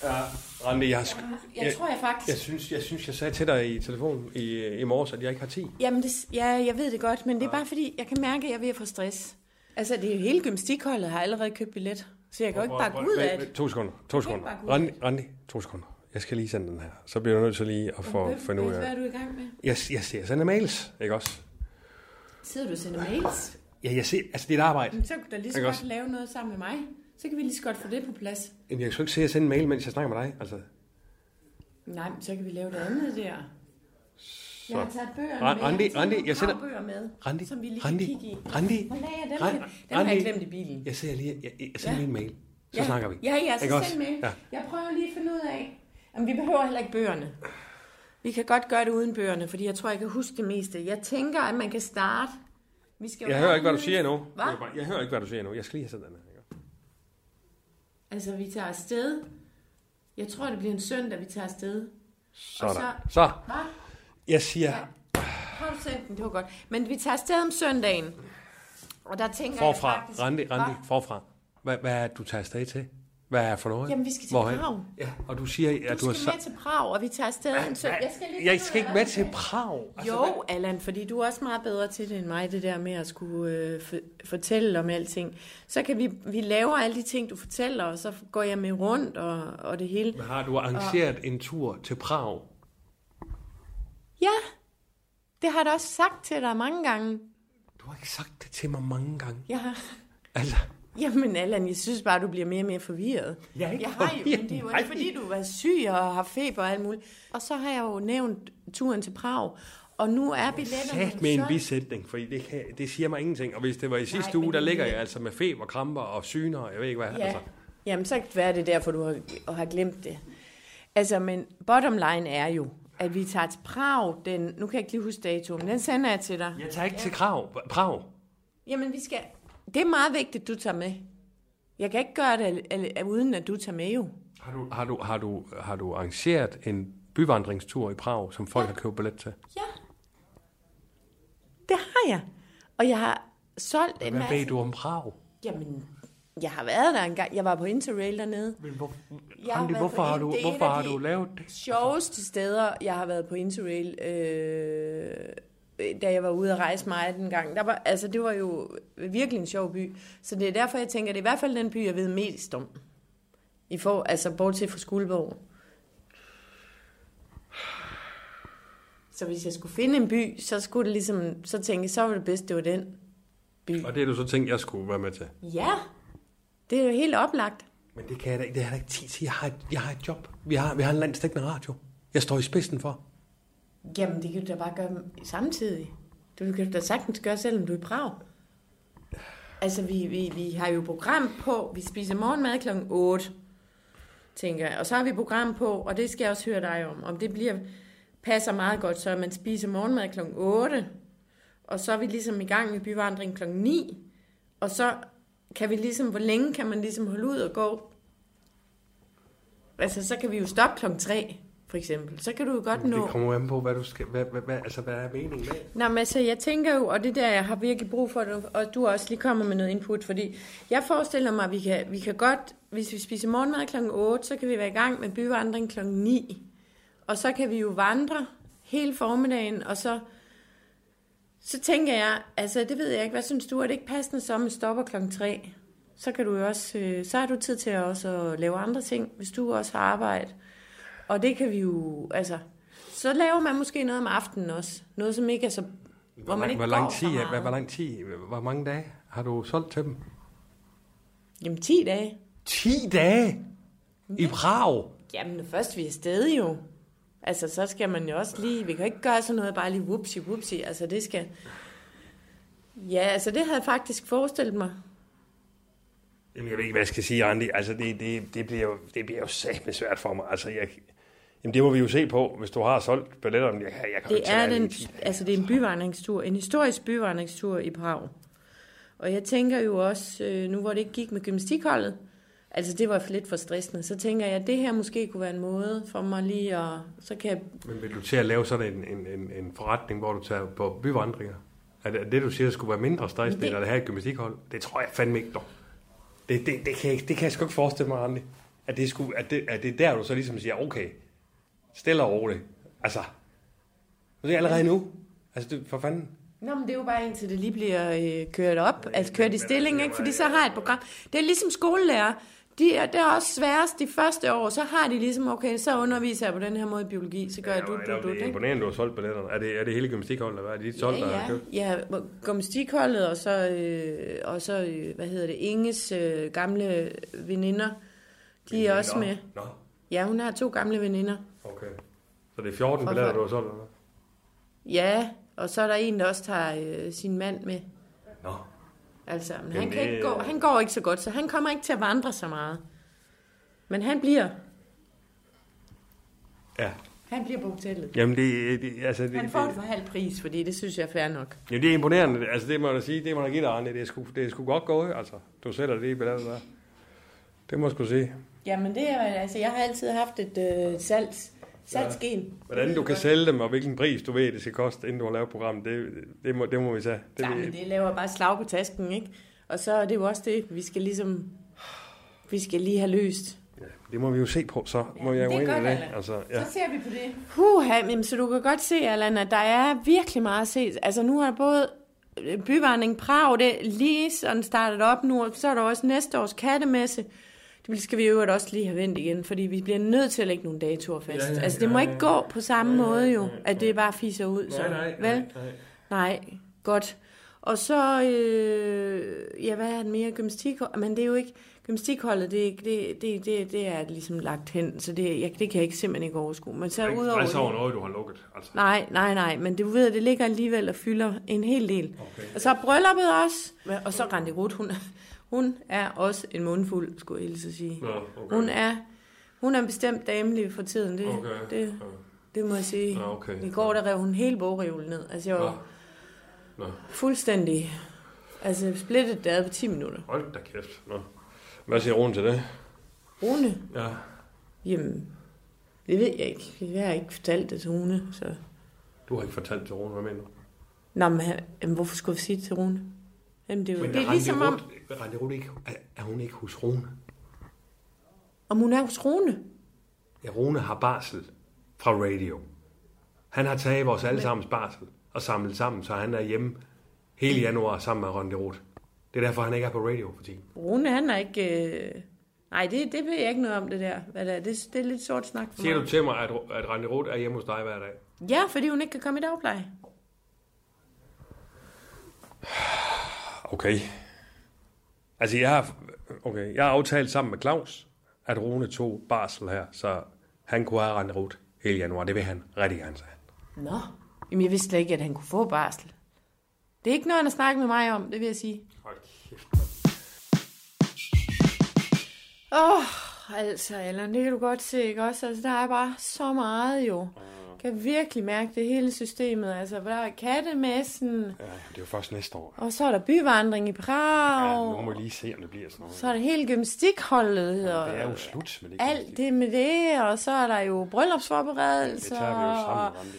Speaker 2: ja. Randi, jeg, har sk-
Speaker 7: Jeg tror, jeg faktisk...
Speaker 2: jeg, synes, jeg synes, jeg sagde til dig i telefonen i, i morges, at jeg ikke har tid.
Speaker 7: Jamen, det, ja, jeg ved det godt, men det er bare fordi, jeg kan mærke, at jeg er ved at få stress. Altså, det er jo hele gymnastikholdet har allerede købt billet, så jeg kan jo ikke bare gå ud af det.
Speaker 2: To sekunder, to sekunder.
Speaker 7: bare gå ud af
Speaker 2: Randi, Randi, to sekunder. Jeg skal lige sende den her. Så bliver du nødt til lige at få
Speaker 7: Hvad-
Speaker 2: finde ud
Speaker 7: Hvad
Speaker 2: af.
Speaker 7: er du i gang med?
Speaker 2: Jeg, jeg, ser- jeg sender mails, ikke også?
Speaker 7: Sidder du og sender mails?
Speaker 2: Ja, jeg ser, altså det er et arbejde.
Speaker 7: Jamen, Så kunne du da lige så
Speaker 2: Ikke
Speaker 7: godt
Speaker 2: også?
Speaker 7: lave noget sammen med mig. Så kan vi lige så godt få det på plads.
Speaker 2: Jamen, jeg kan sgu ikke se, at jeg sender en mail, mens jeg snakker med dig. Altså,
Speaker 7: Nej, men så kan vi lave det andet der. Så. Jeg har taget bøger
Speaker 2: Randi,
Speaker 7: med. Jeg har taget
Speaker 2: Randi,
Speaker 7: nogle
Speaker 2: jeg sender-
Speaker 7: fagbøger med,
Speaker 2: Randi,
Speaker 7: som vi lige
Speaker 2: Randi,
Speaker 7: kan kigge i.
Speaker 2: Randi,
Speaker 7: Hvor lagde jeg den?
Speaker 2: Randi,
Speaker 7: Randi, den har jeg
Speaker 2: Randi.
Speaker 7: glemt i bilen.
Speaker 2: jeg ser lige, jeg, jeg sender
Speaker 7: Ja.
Speaker 2: lige en mail. Så snakker vi.
Speaker 7: Ja, ja,
Speaker 2: Ikke
Speaker 7: så
Speaker 2: også?
Speaker 7: send mail.
Speaker 2: Ja.
Speaker 7: Jeg prøver lige at finde ud af. Jamen, vi behøver heller ikke bøgerne. Vi kan godt gøre det uden bøgerne, fordi jeg tror, jeg kan huske det meste. Jeg tænker, at man kan starte. Vi skal jo
Speaker 2: Jeg
Speaker 7: have
Speaker 2: hører ikke, hvad du
Speaker 7: en-
Speaker 2: siger endnu.
Speaker 7: Hva?
Speaker 2: Jeg, jeg hører ikke, hvad du siger endnu. Jeg skal lige have sådan en. her.
Speaker 7: Altså, vi tager afsted. Jeg tror, det bliver en søndag, vi tager afsted.
Speaker 2: Sådan.
Speaker 7: så-
Speaker 2: Så,
Speaker 7: Hva?
Speaker 2: jeg siger,
Speaker 7: Har du sendt den? Det var godt. Men vi tager afsted om søndagen. Og der tænker
Speaker 2: forfra,
Speaker 7: jeg faktisk...
Speaker 2: Randi, Randi,
Speaker 7: Hva?
Speaker 2: forfra. Hvad, hvad er det, du tager afsted til? Hvad er det for noget?
Speaker 7: Jamen, vi skal til
Speaker 2: Hvorhen?
Speaker 7: Prag.
Speaker 2: Ja, og du siger, at
Speaker 7: Du
Speaker 2: du har
Speaker 7: skal med
Speaker 2: sagt...
Speaker 7: til Prag, og vi tager afsted om søndag. Jeg skal, lige
Speaker 2: Jeg skal ikke med til Prag.
Speaker 7: Jo, Allan, fordi du er også meget bedre til det end mig, det der med at skulle øh, f- fortælle om alting. Så kan vi, vi laver alle de ting, du fortæller, og så går jeg med rundt og, og det hele.
Speaker 2: Altså, Har du arrangeret en tur til Prag?
Speaker 7: Ja, det har jeg da også sagt til dig mange gange.
Speaker 2: Du har ikke sagt det til mig mange gange.
Speaker 7: Jeg har...
Speaker 2: Altså,
Speaker 7: Jamen, Allan, jeg synes bare, du bliver mere og mere forvirret.
Speaker 2: jeg er ikke
Speaker 7: Jeg har jo, men det er jo ikke, fordi du var syg og har feber og alt muligt. Og så har jeg jo nævnt turen til Prag, og nu er billetterne
Speaker 2: Sat med en
Speaker 7: solgt.
Speaker 2: bisætning, for det, kan, det siger mig ingenting. Og hvis det var i sidste
Speaker 7: men
Speaker 2: uge, der
Speaker 7: det-
Speaker 2: ligger jeg altså med feber, kramper og syner, og jeg ved ikke hvad.
Speaker 7: Ja.
Speaker 2: Altså,
Speaker 7: Jamen, så kan det være, det er derfor, du har, har glemt det. Altså, men bottom line er jo, at vi tager til Prag den... Nu kan jeg ikke lige huske datoen, men den sender jeg til dig.
Speaker 2: jeg tager ikke til Krav, Prag.
Speaker 7: Jamen, vi skal... Det er meget vigtigt, du tager med. Jeg kan ikke gøre det al- al- uden, at du tager med jo.
Speaker 2: Har du, har, du, har, du, har du arrangeret en byvandringstur i Prag, som folk har købt billet til?
Speaker 7: Ja. Det har jeg. Og jeg har solgt en
Speaker 2: Hvad
Speaker 7: masse...
Speaker 2: ved du om Prag?
Speaker 7: Jamen, jeg har været der engang. Jeg var på Interrail dernede.
Speaker 2: Men hvor,
Speaker 7: Jeg har
Speaker 2: Randi,
Speaker 7: været
Speaker 2: hvorfor
Speaker 7: på
Speaker 2: har
Speaker 7: en-
Speaker 2: du,
Speaker 7: det er
Speaker 2: hvorfor
Speaker 7: et af
Speaker 2: har
Speaker 7: de-
Speaker 2: du lavet Altså- det?
Speaker 7: sjoveste steder, jeg har været på Interrail, øh, da jeg var ude at rejse meget den gang. Der var, altså, det var jo virkelig en sjov by. Så det er derfor, jeg tænker, det er i hvert fald den by, jeg ved mest om. I får, altså, bortset fra Skuldborg. Så hvis jeg skulle finde en by, så skulle det ligesom, så tænke, jeg, så var det bedst, det var den.
Speaker 2: Og det er du så tænkt, jeg skulle være med til.
Speaker 7: Ja, det er jo helt oplagt.
Speaker 2: Men det kan jeg da ikke, det har jeg da ikke tid til. Jeg har, et- jeg har et job. Vi har, vi har en landstækkende radio. Jeg står i spidsen for.
Speaker 7: Jamen, det kan du da bare gøre samtidig. Det kan du da sagtens gøre, selvom du er i Prag. Altså, vi, vi, vi har jo program på. Vi spiser morgenmad kl. 8, tænker jeg. Og så har vi program på, og det skal jeg også høre dig om. Om det bliver, passer meget godt, så at man spiser morgenmad kl. 8. Og så er vi ligesom i gang med byvandring kl. 9. Og så kan vi ligesom, hvor længe kan man ligesom holde ud og gå? Altså, så kan vi jo stoppe kl. 3, for eksempel. Så kan du jo godt nå...
Speaker 2: Det kommer jo an på, hvad du skal, hvad, hvad, hvad, altså, hvad er meningen med?
Speaker 7: Nå, men altså, jeg tænker jo, og det er der, jeg har virkelig brug for, at du- og du også lige kommer med noget input, fordi jeg forestiller mig, at vi kan, vi kan godt, hvis vi spiser morgenmad kl. 8, så kan vi være i gang med byvandring kl. 9. Og så kan vi jo vandre hele formiddagen, og så, så tænker jeg, altså det ved jeg ikke, hvad synes du, er det ikke passende så, at man stopper kl. 3? Så kan du jo også, øh, så har du tid til også at lave andre ting, hvis du også har arbejde. Og det kan vi jo, altså, så laver man måske noget om aftenen også. Noget, som ikke er så... Hvor man ikke
Speaker 2: hvor lang
Speaker 7: går
Speaker 2: tid,
Speaker 7: så meget.
Speaker 2: hvor, hvor lang tid, hvor mange dage har du solgt til dem?
Speaker 7: Jamen 10 dage.
Speaker 2: 10 dage
Speaker 7: Mm.
Speaker 2: i Prag.
Speaker 7: Jamen først vi er afsted jo. Altså så skal man jo også lige... Vi kan ikke gøre sådan noget bare lige whoopsie whoopsie. Altså det skal... Ja, altså det havde jeg faktisk forestillet mig.
Speaker 2: Jamen, jeg ved ikke, hvad jeg skal sige, Andy. Altså, det, det, det, bliver, jo, det bliver jo sæt svært for mig. Altså, jeg, jamen, det må vi jo se på, hvis du har solgt billetterne. Jeg, jeg kan jo
Speaker 7: Det
Speaker 2: ikke tage
Speaker 7: er,
Speaker 2: alle
Speaker 7: den,
Speaker 2: de 10 dage.
Speaker 7: altså det er en byvandringstur, en historisk byvandringstur i Prag. Og jeg tænker jo også, øh, nu hvor det ikke gik med gymnastikholdet, altså det var lidt for stressende, så tænker jeg, at det her måske kunne være en måde for mig lige at... Så kan jeg,
Speaker 2: Men vil du til at lave sådan en, en, en, en forretning, hvor du tager på byvandringer? Er det, er det du siger, skulle være mindre stressende,
Speaker 7: Det-
Speaker 2: det... eller det her et gymnastikhold? Det tror jeg fandme ikke, dog. Det, det, det, kan jeg, ikke- det kan jeg sgu ikke forestille mig, Andy. At det, skulle, at, det, at det er der, du så ligesom siger, okay, stille og roligt. Altså, det er allerede nu. Altså, det, for fanden.
Speaker 7: Nå, men det er jo bare indtil det lige bliver øh, kørt op, altså kørt i stilling, ikke? Fordi så har jeg et program. Det er ligesom skolelærer. De er, det er også sværest de første år, så har de ligesom, okay, så underviser jeg på den her måde i biologi, så gør jeg du, du, du,
Speaker 2: det er
Speaker 7: det.
Speaker 2: imponerende, du har solgt billetterne. Er det, er det hele gymnastikholdet, eller hvad er det, de solgt, der har
Speaker 7: Ja,
Speaker 2: købt?
Speaker 7: ja, ja hvor gymnastikholdet, og så, øh, og så øh, hvad hedder det, Inges øh, gamle veninder, de er også
Speaker 2: Nå,
Speaker 7: med.
Speaker 2: Nå,
Speaker 7: Ja, hun har to gamle veninder.
Speaker 2: okay. Så det er 14
Speaker 7: Hvorfor?
Speaker 2: billetter, du har solgt, eller hvad?
Speaker 7: Ja, og så er der en, der også tager øh, sin mand med.
Speaker 2: Nå.
Speaker 7: Altså, men han,
Speaker 2: Jamen,
Speaker 7: kan
Speaker 2: det-
Speaker 7: ikke gå, han går ikke så godt, så han kommer ikke til at vandre så meget. Men han bliver.
Speaker 2: Ja,
Speaker 7: Han bliver på hotellet.
Speaker 2: Jamen, det, det, altså, det,
Speaker 7: Han får det for halv pris, fordi det synes jeg er fair nok.
Speaker 2: Jamen, det er imponerende. Altså, det må jeg da sige. Det må jeg da give dig, Arne. Det er sgu, det er sgu godt gået, altså. Du sætter det i billedet der. Det må jeg sgu sige.
Speaker 7: Jamen det er, altså jeg har altid haft et øh, salgs, salgsgen.
Speaker 2: Hvordan du kan sælge dem, og hvilken pris du ved, det skal koste, inden du har lavet programmet, det, det, må, det må vi tage. Det,
Speaker 7: Nej, men det laver bare slag på tasken, ikke? Og så er det jo også det, vi skal ligesom, vi skal lige have løst.
Speaker 2: det må vi jo se på, så må jeg jo
Speaker 7: det
Speaker 2: ind i
Speaker 7: gør
Speaker 2: det.
Speaker 7: vi, Allan.
Speaker 2: Altså, ja.
Speaker 7: ser vi på det. Puh, jamen, så du kan godt se, Allan, at der er virkelig meget at se. Altså nu har både øh, byvandring Prag, det er lige sådan startet op nu, og så er der også næste års kattemesse. Det skal vi jo også lige have vendt igen, fordi vi bliver nødt til at lægge nogle datoer fast. Ja, ja, altså det må ikke gå på samme måde jo, at det bare fiser ud. Så, vel? Nej, godt. Og så, øh, ja, hvad er den mere? Gymnastik, men det er jo ikke, gymnastikholdet, det, det, det, det, det er ligesom lagt hen, så det, jeg, det kan jeg ikke simpelthen ikke overskue. Men så udover det,
Speaker 2: over noget, du har lukket. Altså.
Speaker 7: Nej, nej, nej, men du ved, at det ligger alligevel og fylder en hel del. Okay. Og så er brylluppet også, Men- og så Randi Ruth, hun, hun er også en mundfuld, skulle jeg hilse at sige.
Speaker 2: Nå, okay.
Speaker 7: Hun er hun er en bestemt damelig for tiden, det, det, det må jeg sige.
Speaker 2: Nå, okay. Ah.
Speaker 7: I går, der rev hun hele bogreolen ned. Altså, jeg var
Speaker 2: Nå. Nå.
Speaker 7: fuldstændig altså, splittet der på 10 minutter.
Speaker 2: Hold da kæft. Nå. Hvad siger Rune til det?
Speaker 7: Rune,
Speaker 2: Ja.
Speaker 7: Jamen, det ved jeg ikke. Jeg har ikke fortalt det til Rune, så...
Speaker 2: Du har ikke fortalt til Rune, hvad mener du?
Speaker 7: Nå, men, han- jamen, hvorfor skulle vi sige det til Rune? Jamen, det er, jo, det er ligesom om,
Speaker 2: Randi Rune ikke, er, er, hun ikke hos Rune?
Speaker 7: om hun er hos Rune.
Speaker 2: Ja, Rune har barsel fra radio. Han har taget vores allesammens barsel og samlet sammen, så han er hjemme hele januar sammen med Ronny Roth. Det er derfor, han ikke er på radio for tiden.
Speaker 7: Rune, han er ikke... Øh... Nej, det, det ved jeg ikke noget om, det der. Hvad det, er. det, det er lidt sort snak for
Speaker 2: Siger
Speaker 7: mig.
Speaker 2: du til mig, at, at Randi Roth er hjemme hos dig hver dag?
Speaker 7: Ja, fordi hun ikke kan komme i dagpleje.
Speaker 2: Okay. Altså, jeg har, okay, jeg har aftalt sammen med Claus, at Rune tog barsel her, så han kunne have Randi Roth hele januar. Det vil han rigtig gerne, sagde han.
Speaker 7: Nå. Jamen, jeg vidste slet ikke, at han kunne få barsel. Det er ikke noget, han har snakket med mig om, det vil jeg sige.
Speaker 2: Hold kæft.
Speaker 7: Åh, oh, altså Allan, det kan du godt se, ikke også? Altså, der er bare så meget jo. Jeg kan virkelig mærke det hele systemet. Altså, hvor der er kattemessen,
Speaker 2: Ja, jamen, det er jo først næste år.
Speaker 7: og så er der byvandring i
Speaker 2: Ja,
Speaker 7: Prag,
Speaker 2: nu må vi lige se, om det bliver sådan noget.
Speaker 7: så er der hele gymnastikholdet, og
Speaker 2: Det er jo slut med det.
Speaker 7: alt det med det, og så er der jo bryllupsforberedelser,
Speaker 2: Det tager vi jo
Speaker 7: og,
Speaker 2: sammen, Randi.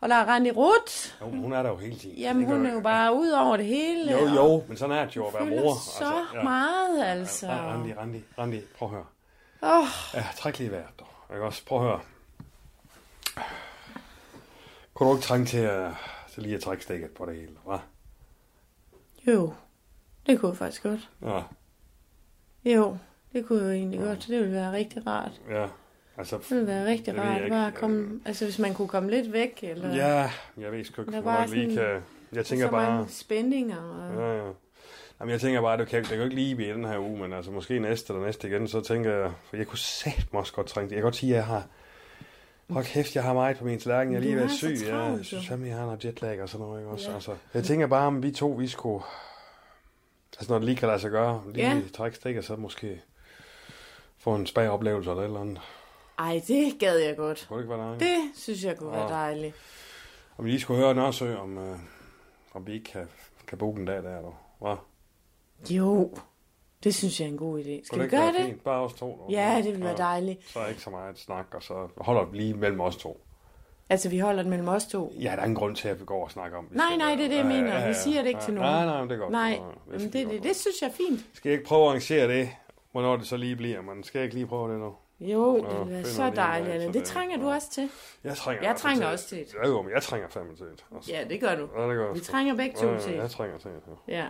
Speaker 7: og der er Randi Ruth.
Speaker 2: Jo, men hun er der jo hele tiden.
Speaker 7: Jamen,
Speaker 2: Det gør
Speaker 7: hun
Speaker 2: jeg
Speaker 7: er jo
Speaker 2: ikke.
Speaker 7: bare ud over det hele.
Speaker 2: Jo,
Speaker 7: og
Speaker 2: jo, men sådan er det jo at være
Speaker 7: fylder
Speaker 2: mor. altså,
Speaker 7: så meget, altså.
Speaker 2: Ja, Randi, Randi, Randi, prøv at høre.
Speaker 7: Åh.
Speaker 2: Ja, træk lige vejret, dog. Ikke også? Prøv at høre. Kunne du ikke trænge til, at, til lige at trække stikket på det hele, hva'?
Speaker 7: Jo, det kunne jeg faktisk godt.
Speaker 2: Ja,
Speaker 7: Jo, det kunne jo egentlig godt. Det ville være rigtig rart.
Speaker 2: ja. Altså,
Speaker 7: Det ville være rigtig
Speaker 2: Det ved jeg
Speaker 7: rart
Speaker 2: ikke. øh.
Speaker 7: bare at komme... Altså, hvis man kunne komme lidt væk, eller...
Speaker 2: ja, jeg ved sgu ikke,
Speaker 7: Der er
Speaker 2: hvornår
Speaker 7: bare
Speaker 2: jeg lige
Speaker 7: sådan-
Speaker 2: kan... Jeg
Speaker 7: der er
Speaker 2: tænker
Speaker 7: så mange
Speaker 2: bare...
Speaker 7: spændinger og...
Speaker 2: Ja, ja. Jamen, jeg tænker bare, det kan, det kan jo ikke lige blive i den her uge, men altså måske næste eller næste igen, så tænker jeg, for jeg kunne satme også godt trænge det. Jeg kan godt sige, at jeg har, hold kæft, jeg har meget på min tallerken, jeg er lige
Speaker 7: Du
Speaker 2: ved
Speaker 7: har så
Speaker 2: syg, ja,
Speaker 7: travlt,
Speaker 2: jeg synes,
Speaker 7: jo.
Speaker 2: at jeg har noget jetlag og sådan noget, ikke også? Ja. Altså, jeg tænker bare, om vi to, vi skulle, altså når det lige kan lade sig gøre, lige
Speaker 7: Ja.
Speaker 2: ja. trække stik, og så måske få en spag oplevelse eller et eller andet.
Speaker 7: Ej, det gad jeg godt.
Speaker 2: Kunne det ikke være dejligt?
Speaker 7: Det synes jeg kunne være
Speaker 2: Åh.
Speaker 7: dejligt.
Speaker 2: Om vi lige skulle høre Nørsø, om, øh, om vi ikke kan, kan booke en dag der, eller hvad?
Speaker 7: Jo, det synes jeg er en god idé. Skal
Speaker 2: Kunne
Speaker 7: vi
Speaker 2: ikke
Speaker 7: gøre
Speaker 2: være
Speaker 7: det?
Speaker 2: fint? Bare os to. eller
Speaker 7: Ja,
Speaker 2: hvad?
Speaker 7: det ville være dejligt.
Speaker 2: Så er der ikke så meget snak, og så holder vi lige mellem os to.
Speaker 7: Altså, vi holder den mellem os to.
Speaker 2: Ja, der er ingen grund til, at vi går og snakker om det.
Speaker 7: Nej, nej, det er det, jeg mener. Vi siger det ikke til nogen.
Speaker 2: Nej, nej, men det er godt.
Speaker 7: Nej,
Speaker 2: Det er fint,
Speaker 7: Jamen, det,
Speaker 2: godt.
Speaker 7: det, det synes jeg er fint.
Speaker 2: Skal jeg ikke prøve at arrangere det, hvornår det så lige bliver? Men skal jeg ikke lige prøve det nu?
Speaker 7: Jo,
Speaker 2: Åh,
Speaker 7: det ville være
Speaker 2: finder
Speaker 7: så
Speaker 2: lige en
Speaker 7: dejligt,
Speaker 2: vej
Speaker 7: Anna.
Speaker 2: til
Speaker 7: Det
Speaker 2: det.
Speaker 7: trænger du
Speaker 2: Åh.
Speaker 7: også til.
Speaker 2: Jeg trænger
Speaker 7: Jeg
Speaker 2: altså
Speaker 7: trænger
Speaker 2: til
Speaker 7: også til et.
Speaker 2: Ja, jo, men jeg trænger fandme til et. Altså.
Speaker 7: Ja, det gør du.
Speaker 2: Ja, det gør jeg
Speaker 7: Vi
Speaker 2: sgu.
Speaker 7: trænger begge
Speaker 2: Ja,
Speaker 7: to
Speaker 2: ja,
Speaker 7: til
Speaker 2: Jeg
Speaker 7: et.
Speaker 2: trænger til et. ja.
Speaker 7: Ja,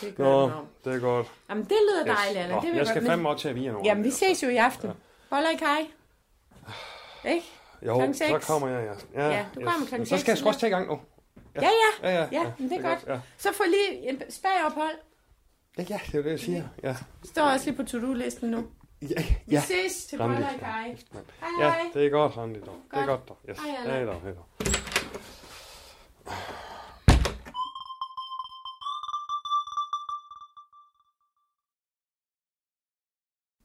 Speaker 7: det gør
Speaker 2: Nå,
Speaker 7: du nok.
Speaker 2: det er godt.
Speaker 7: Jamen, det lyder dejligt, Anna.
Speaker 2: Nå,
Speaker 7: Det vil
Speaker 2: jeg
Speaker 7: godt-
Speaker 2: skal
Speaker 7: men-
Speaker 2: fandme også til at vige nogen.
Speaker 7: Jamen, vi ses jo i aften. Boller i kaj. Ikke?
Speaker 2: Jo,
Speaker 7: klokken
Speaker 2: så
Speaker 7: seks.
Speaker 2: kommer jeg. Ja,
Speaker 7: Ja, du kommer klokken
Speaker 2: Men Så skal jeg
Speaker 7: seks,
Speaker 2: sgu også til i gang nu.
Speaker 7: Ja, ja.
Speaker 2: Ja, ja.
Speaker 7: Ja, men det er godt.
Speaker 2: Ja,
Speaker 7: Så får lige en spagophold.
Speaker 2: Ja, ja, det er jo det, jeg siger. Ja,
Speaker 7: Står også lige på to-do-listen nu.
Speaker 2: ja,
Speaker 7: Vi
Speaker 2: ja.
Speaker 7: ses til
Speaker 2: Randi.
Speaker 7: Boller i kaj. Hej,
Speaker 2: Ja,
Speaker 7: hej.
Speaker 2: det er godt, Randi. Dog. Det er
Speaker 7: Godt.
Speaker 2: godt, dog. Yes.
Speaker 7: Hej, Allan.
Speaker 2: Hej, dog. Hej, dog.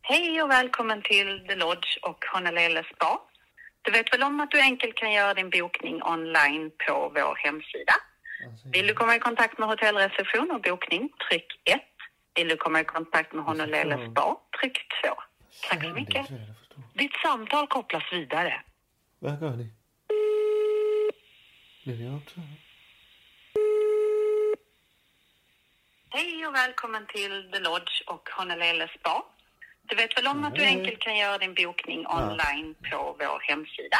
Speaker 8: Hej och välkommen till The Lodge och Honolele Spa. Du vet väl om att du enkelt kan göra din bokning online på vår hemsida? Vill du komma i kontakt med hotellreception och bokning? Tryck 1. Vill du komma i kontakt med Honolele Spa? Tryck 2. Tack så mycket. Ditt samtal kopplas vidare.
Speaker 1: Hvad gør de? Bliver de optaget?
Speaker 8: Hej och välkommen till The Lodge och Honolele Spa. Du vet väl om att du enkelt kan göra din bokning online på vår hemsida?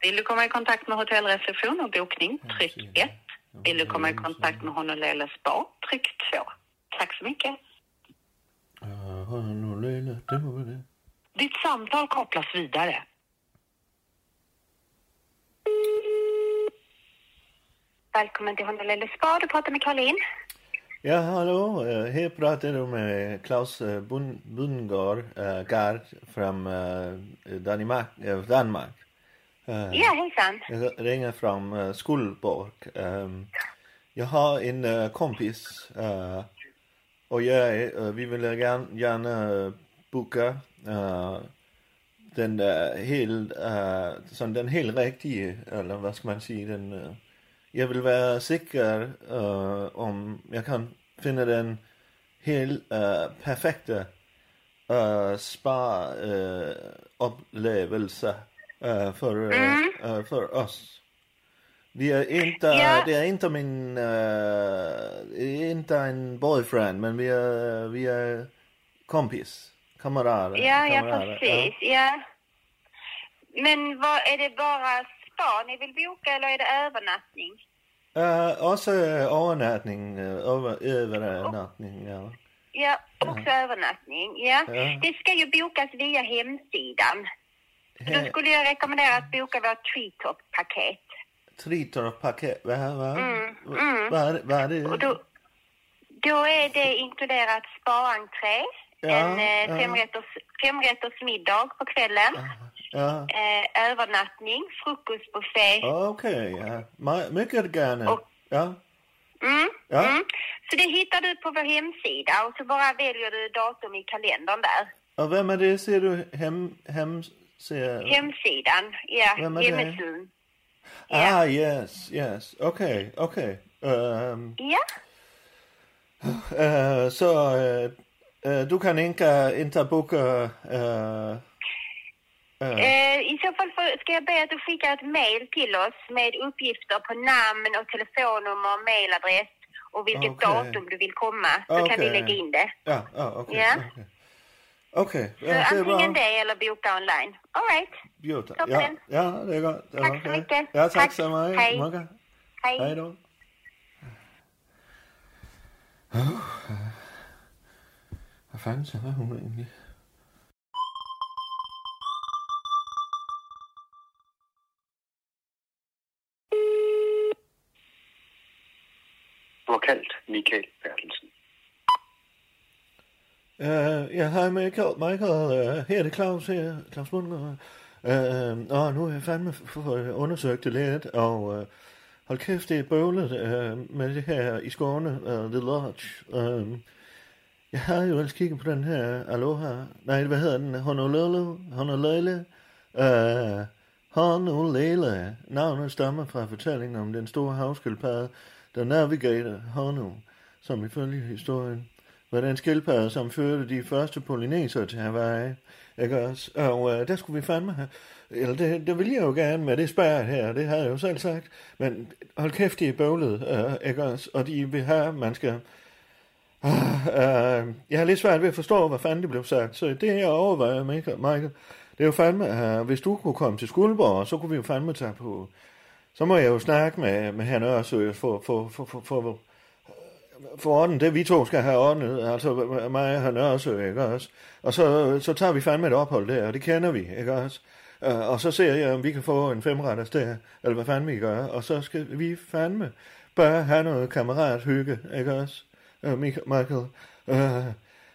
Speaker 8: Vill du komma i kontakt med hotellreception och bokning? Tryck 1. Vill du komma i kontakt med Honolele Spa? Tryck 2. Tack så mycket.
Speaker 1: Ah, hold nu, Lena. Det må være det.
Speaker 8: Ditt samtal kopplas vidare. Välkommen till Honolele Spa. Du pratar med Karin.
Speaker 1: Ja, hallo. Øh, Her prater du med Claus øh, Bun- Bundgaard uh, Gard fra uh, Danmark. Uh, Danmark. Uh,
Speaker 8: Ja, hejsan.
Speaker 1: Jeg ringer fra uh, Skuldborg. Um, jeg har en uh, kompis, uh, og jeg, uh, vi vil gerne, gerne øh, booke uh, den der helt, uh, sådan den helt rigtige, eller hvad skal man sige, den, uh, jeg vil være sikker, uh, om jeg kan finde den helt uh, perfekte uh, eh, spa-oplevelse uh, uh, for, uh, uh, for os. Vi er inte,
Speaker 8: Ja.
Speaker 1: det er inte min, uh, inte en boyfriend, men vi er, vi er kompis, kammerater.
Speaker 8: Ja, ja
Speaker 1: kammerater.
Speaker 8: precis. Ja. Men vad, är det bara spa ni vill boka eller är det övernattning?
Speaker 1: Uh, også overnatning, uh, over, overnatning, ja.
Speaker 8: Ja, också övernattning. Ja.
Speaker 1: Ja.
Speaker 8: Det ska ju bokas via hemsidan. Så Då skulle jag rekommendera att boka vårt treetop-paket.
Speaker 1: Tritorp-paket, hvad, hvad,
Speaker 8: Mm,
Speaker 1: hvad, er det- hvad er det?
Speaker 8: Och då, då är det inkluderat spa-entré,
Speaker 1: Ja,
Speaker 8: en
Speaker 1: ja.
Speaker 8: eh, femrätters, femrätters middag på kvällen,
Speaker 1: Ah, Ja,
Speaker 8: eh, övernattning, frukostbuffé.
Speaker 1: okay, ja. Me- Mycket gerne.
Speaker 8: Och-
Speaker 1: Ja,
Speaker 8: Mm.
Speaker 1: ja.
Speaker 8: Mm. Så det hittar du på vår hemsida och så bara väljer du datum i kalendern där.
Speaker 1: Og hvem er det, ser du? Hem, hem, ser...
Speaker 8: Hemsidan, ja,
Speaker 1: Vem är det?
Speaker 8: hemsidan.
Speaker 1: Ah, yes, yes. Okay, okay. Um,
Speaker 8: Ja,
Speaker 1: uh, så uh, uh, du kan ikke, ikke booke... Uh,
Speaker 8: eh, i så fall får- ska jag be att du skickar ett mail till oss med uppgifter på namn och telefonnummer och mailadress och vilket
Speaker 1: Okej.
Speaker 8: datum du vill komma. Så kan vi
Speaker 1: Okej.
Speaker 8: lägga in det.
Speaker 1: ja, ja, okay,
Speaker 8: Ja.
Speaker 1: okay. Okay,
Speaker 8: Så
Speaker 1: ja, det er
Speaker 8: antingen
Speaker 1: bra.
Speaker 8: det eller boka online. All right.
Speaker 1: Beauty.
Speaker 8: Toppen.
Speaker 1: Ja, ja, det er godt.
Speaker 8: Tak så
Speaker 1: Okay.
Speaker 8: mycket.
Speaker 1: Ja, tak
Speaker 8: Tak.
Speaker 1: så meget.
Speaker 8: Hej.
Speaker 1: Mange.
Speaker 8: Hej.
Speaker 1: Hej då. Hvad fanden så var hun egentlig?
Speaker 9: Du har kaldt Michael Bertelsen.
Speaker 1: Uh, ja, hej Michael. Michael uh, her er det Claus her. Claus Bundgaard. Uh, og nu har jeg fandme f- f- undersøgt det lidt, og uh, hold kæft, det er bøvlet uh, med det her i Skåne, uh, The Lodge. Uh, jeg havde jo ellers kigget på den her Aloha, nej, hvad hedder den? Honolulu? Honolele? Uh, Honolele. Navnet stammer fra fortællingen om den store havskildpadde, der navigator Honu, som ifølge historien var den skildpadde, som førte de første polynesere til Hawaii. Ikke også? Og øh, der skulle vi fandme have... Eller det, det ville jeg jo gerne med det spær her, det havde jeg jo selv sagt. Men hold kæft, de er bøvlet, øh, ikke også? Og de vil have, at man skal... Uh, jeg har lidt svært ved at forstå, hvad fanden det blev sagt, så det her overvejer Michael. Michael. Det er jo fandme, uh, hvis du kunne komme til Skuldborg, så kunne vi jo fandme tage på... Så må jeg jo snakke med, med herren Ørsø for, for, for, for, for, for ordnet det, vi to skal have ordnet, altså mig og han Ørsø, ikke også? Og så, så tager vi fandme et ophold der, og det kender vi, ikke også? Øh, Og så ser jeg, om vi kan få en femretters der, eller hvad fanden vi gør, og så skal vi fandme bare have noget kammerathygge, ikke også, øh, Mich- Michael? Øh,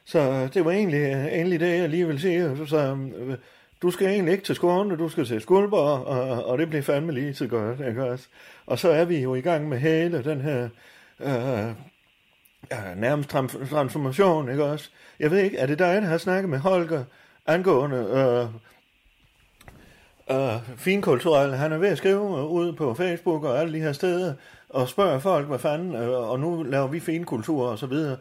Speaker 1: Så det var egentlig, egentlig det, jeg lige vil sige. Så, øh, du skal egentlig ikke til Skåne, du skal til Skuldborg, og, og det bliver fandme lige så godt, ikke også? Og så er vi jo i gang med hele den her øh, ja, nærmest tran- transformation, ikke også? Jeg ved ikke, er det dig, der har snakket med Holger angående øh, og finkulturel. Han er ved at skrive øh, ud på Facebook og alle de her steder, og spørger folk, hvad fanden, øh, og nu laver vi finkultur og så videre.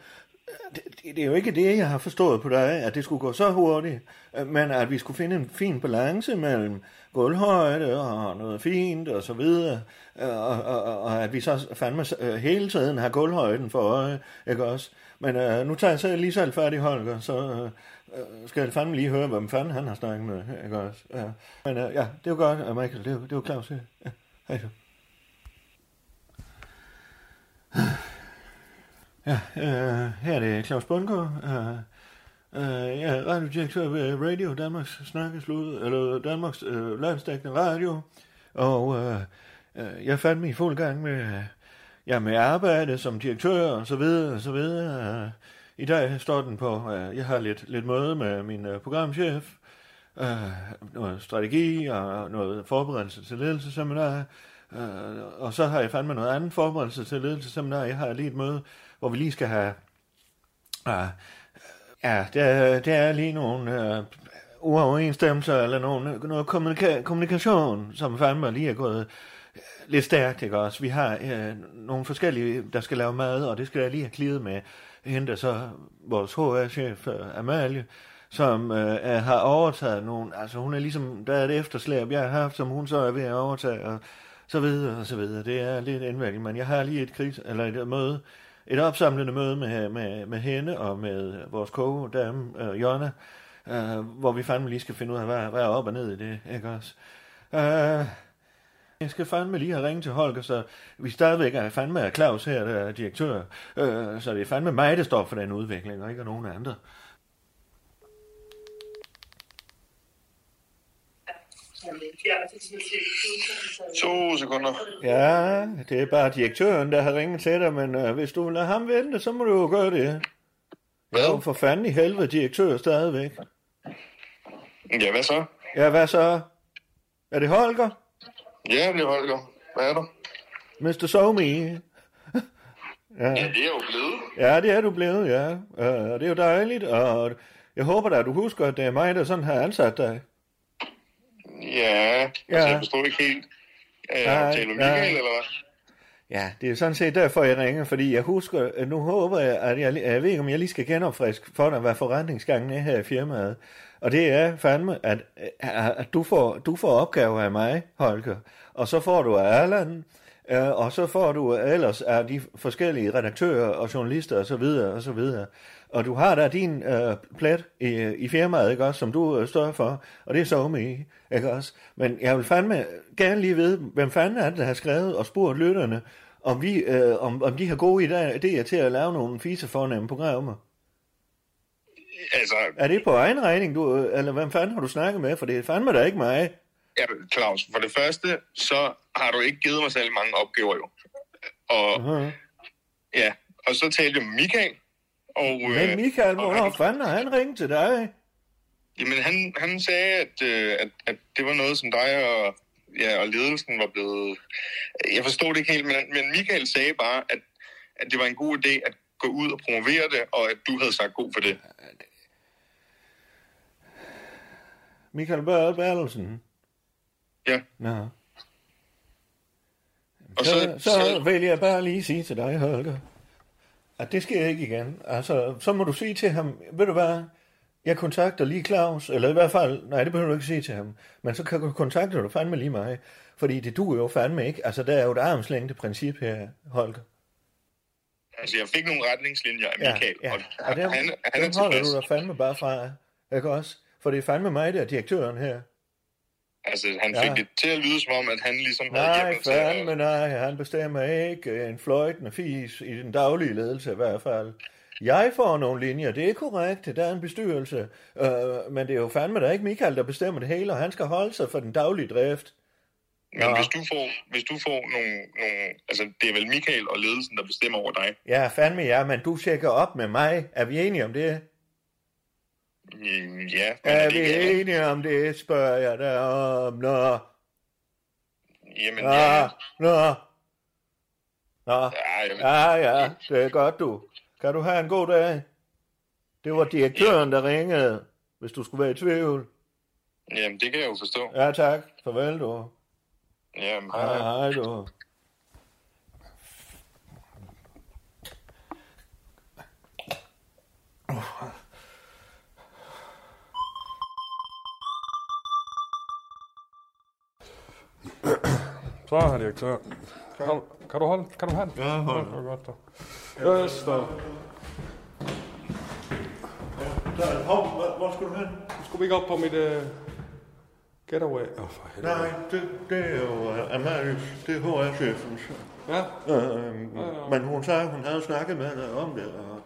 Speaker 1: Det, det, det er jo ikke det, jeg har forstået på dig, at det skulle gå så hurtigt, øh, men at vi skulle finde en fin balance mellem gulvhøjde og noget fint og så videre, øh, og, og, og- og at vi så fandme øh, hele tiden har gulvhøjden for øje, ikke også? Men øh, nu tager jeg selv lige selv færdig, Holger, så øh, øh, skal jeg fandme lige høre, hvem fanden han har snakket med, ikke også? Ja. Men øh, ja, det er jo godt, øh, Michael, det er jo- det er jo Claus. Ja. Hej så. Ja, øh, her er det Claus Bundgaard. Øh, øh, jeg er radiodirektør ved Radio Danmarks Snakkeslud, eller Danmarks øh, landsdækkende radio. Og øh, øh, jeg er fandme i fuld gang med, øh, ja, med arbejde som direktør og så videre og så videre. Øh, I dag står den på, øh, jeg har lidt, lidt møde med min øh, programchef. Øh, noget strategi og noget forberedelse til ledelsesseminar. Øh, og så har jeg fandme noget andet forberedelse til ledelsesseminar. Jeg har lige et møde, hvor vi lige skal have... Øh, ja, der, der er lige nogle øh, uoverensstemmelser eller nogle, noget kommunika- kommunikation, som fandme lige er gået lidt stærkt, ikke også? Vi har øh, nogle forskellige, der skal lave mad, og det skal jeg lige have klidet med hende, der så vores HR-chef, øh, Amalie, som øh, er- har overtaget nogle, altså hun er ligesom, der er et efterslæb, jeg har haft, som hun så er ved at overtage, og så videre, og så videre. Det er lidt indvendigt, men jeg har lige et kris, eller et møde, et opsamlende møde med, med, med hende og med vores koge, dame, øh, Jonna, øh, hvor vi fandme lige skal finde ud af, hvad, hvad er op og ned i det, ikke også? Øh, jeg skal fandme lige have ringet til Holger, så vi stadigvæk er fandme er Claus her, der er direktør. Øh, så det er fandme mig, der står for den udvikling, og ikke nogen andre.
Speaker 9: To sekunder.
Speaker 1: Ja, det er bare direktøren, der har ringet til dig, men øh, hvis du vil lade ham vente, så må du jo gøre det. Hvad? Jo, for fanden i helvede direktør stadigvæk.
Speaker 9: Ja, hvad så?
Speaker 1: Ja, hvad så? Er det Holger?
Speaker 9: Ja, det er Holger. Hvad er du?
Speaker 1: Mr. Somi? (laughs)
Speaker 9: Ja, det er jeg jo blevet.
Speaker 1: Ja, det er du blevet, ja. Øh, Og det er jo dejligt, og jeg håber da, at du husker, at det er mig, der sådan har ansat dig.
Speaker 9: Ja, ja. altså
Speaker 1: Ja.
Speaker 9: jeg forstår ikke helt. Er
Speaker 1: Nej,
Speaker 9: jeg taler med
Speaker 1: nej.
Speaker 9: Michael, eller hvad?
Speaker 1: Ja, det er sådan set derfor, jeg ringer, fordi jeg husker, øh, nu håber jeg, at jeg, jeg ved ikke, om jeg lige skal genopfriske for dig, hvad forretningsgangen er her i firmaet. Og det er fandme, at, at at du, får, du får opgaver af mig, Holger, og så får du af Allan, øh, og så får du ellers af de forskellige redaktører og journalister og så videre og så videre. Og du har der din øh, plet i, i firmaet, ikke også, som du øh, står for, og det er så med, ikke også? Men jeg vil fandme gerne lige vide, hvem fanden er det, der har skrevet og spurgt lytterne, om, vi, øh, om, om de har gode idéer idéer til at lave nogle fisefornemme programmer.
Speaker 9: Altså,
Speaker 1: Er det på egen regning, du, øh, eller hvem fanden har du snakket med? For det er fandme da ikke mig.
Speaker 9: ja, Claus, for det første, så har du ikke givet mig særlig mange opgaver, jo. Og
Speaker 1: Uh-huh.
Speaker 9: ja, og så talte jeg med Michael, og...
Speaker 1: Men Michael, hvornår fanden har han ringet til dig?
Speaker 9: Jamen, han, han sagde, at, øh, at, at det var noget, som dig og, ja, og ledelsen var blevet... Jeg forstod det ikke helt, men, men Michael sagde bare, at, at det var en god idé at gå ud og promovere det, og at du havde sagt god for det.
Speaker 1: Michael Børge Bertelsen?
Speaker 9: Ja.
Speaker 1: Nå.
Speaker 9: Og
Speaker 1: Så, så, så vil jeg bare lige sige til dig, Holger, at det sker ikke igen. Altså, så må du sige til ham, ved du hvad, jeg kontakter lige Claus, eller i hvert fald, nej, det behøver du ikke sige til ham, men så kan- kontakter du fandme lige mig, fordi det duer jo fandme ikke. Altså, der er jo et armslængde princip her, Holger.
Speaker 9: Altså, jeg fik nogle retningslinjer af Michael,
Speaker 1: ja.
Speaker 9: og
Speaker 1: Og dem,
Speaker 9: han, han er
Speaker 1: dem holder
Speaker 9: tilfreds.
Speaker 1: du dig fandme bare fra, ikke også? For det er fandme mig, der er direktøren her.
Speaker 9: Altså, han
Speaker 1: Ja.
Speaker 9: fik det til at lyde som om, at han ligesom havde
Speaker 1: Nej,
Speaker 9: hjemmel til at...
Speaker 1: fandme nej, han bestemmer ikke en fløjtende fis i den daglige ledelse i hvert fald. Jeg får nogle linjer, det er korrekt, der er en bestyrelse, øh, men det er jo fandme der er ikke Michael, der bestemmer det hele, og han skal holde sig for den daglige drift.
Speaker 9: Men hvis du får, hvis du får nogle, nogle... Altså, det er vel Michael og ledelsen, der bestemmer over dig.
Speaker 1: Ja, fandme ja, men du tjekker op med mig, er vi enige om det? Ah.
Speaker 9: Mm, Ja, men
Speaker 1: Er
Speaker 9: det
Speaker 1: vi
Speaker 9: ikke alle.
Speaker 1: enige om det, spørger jeg dig om, nå,
Speaker 9: Jamen,
Speaker 1: nå,
Speaker 9: ja.
Speaker 1: nå. Nå,
Speaker 9: jamen-
Speaker 1: ja, ja, det er godt du. Kan du have en god dag? Det var direktøren, der ringede, hvis du skulle være i tvivl.
Speaker 9: Jamen, det kan jeg jo forstå.
Speaker 1: Ja, tak. Farvel, du.
Speaker 9: Jamen, hej.
Speaker 1: Hej, hej, du.
Speaker 2: Så har direktør. Kan, du- kan du holde? Kan du have den? Ja, hold den. Godt, da. Yes, da.
Speaker 1: Hov, hvor, hvor skal du hen?
Speaker 2: Skulle vi ikke op på mit uh, getaway? Åh, oh, for helvede.
Speaker 1: Nej, det, det er jo øh, Amalie, det er HR-chefen.
Speaker 2: Ja.
Speaker 1: Øhm,
Speaker 2: Ja, ja.
Speaker 1: men hun sagde, hun havde snakket med dig om det, og,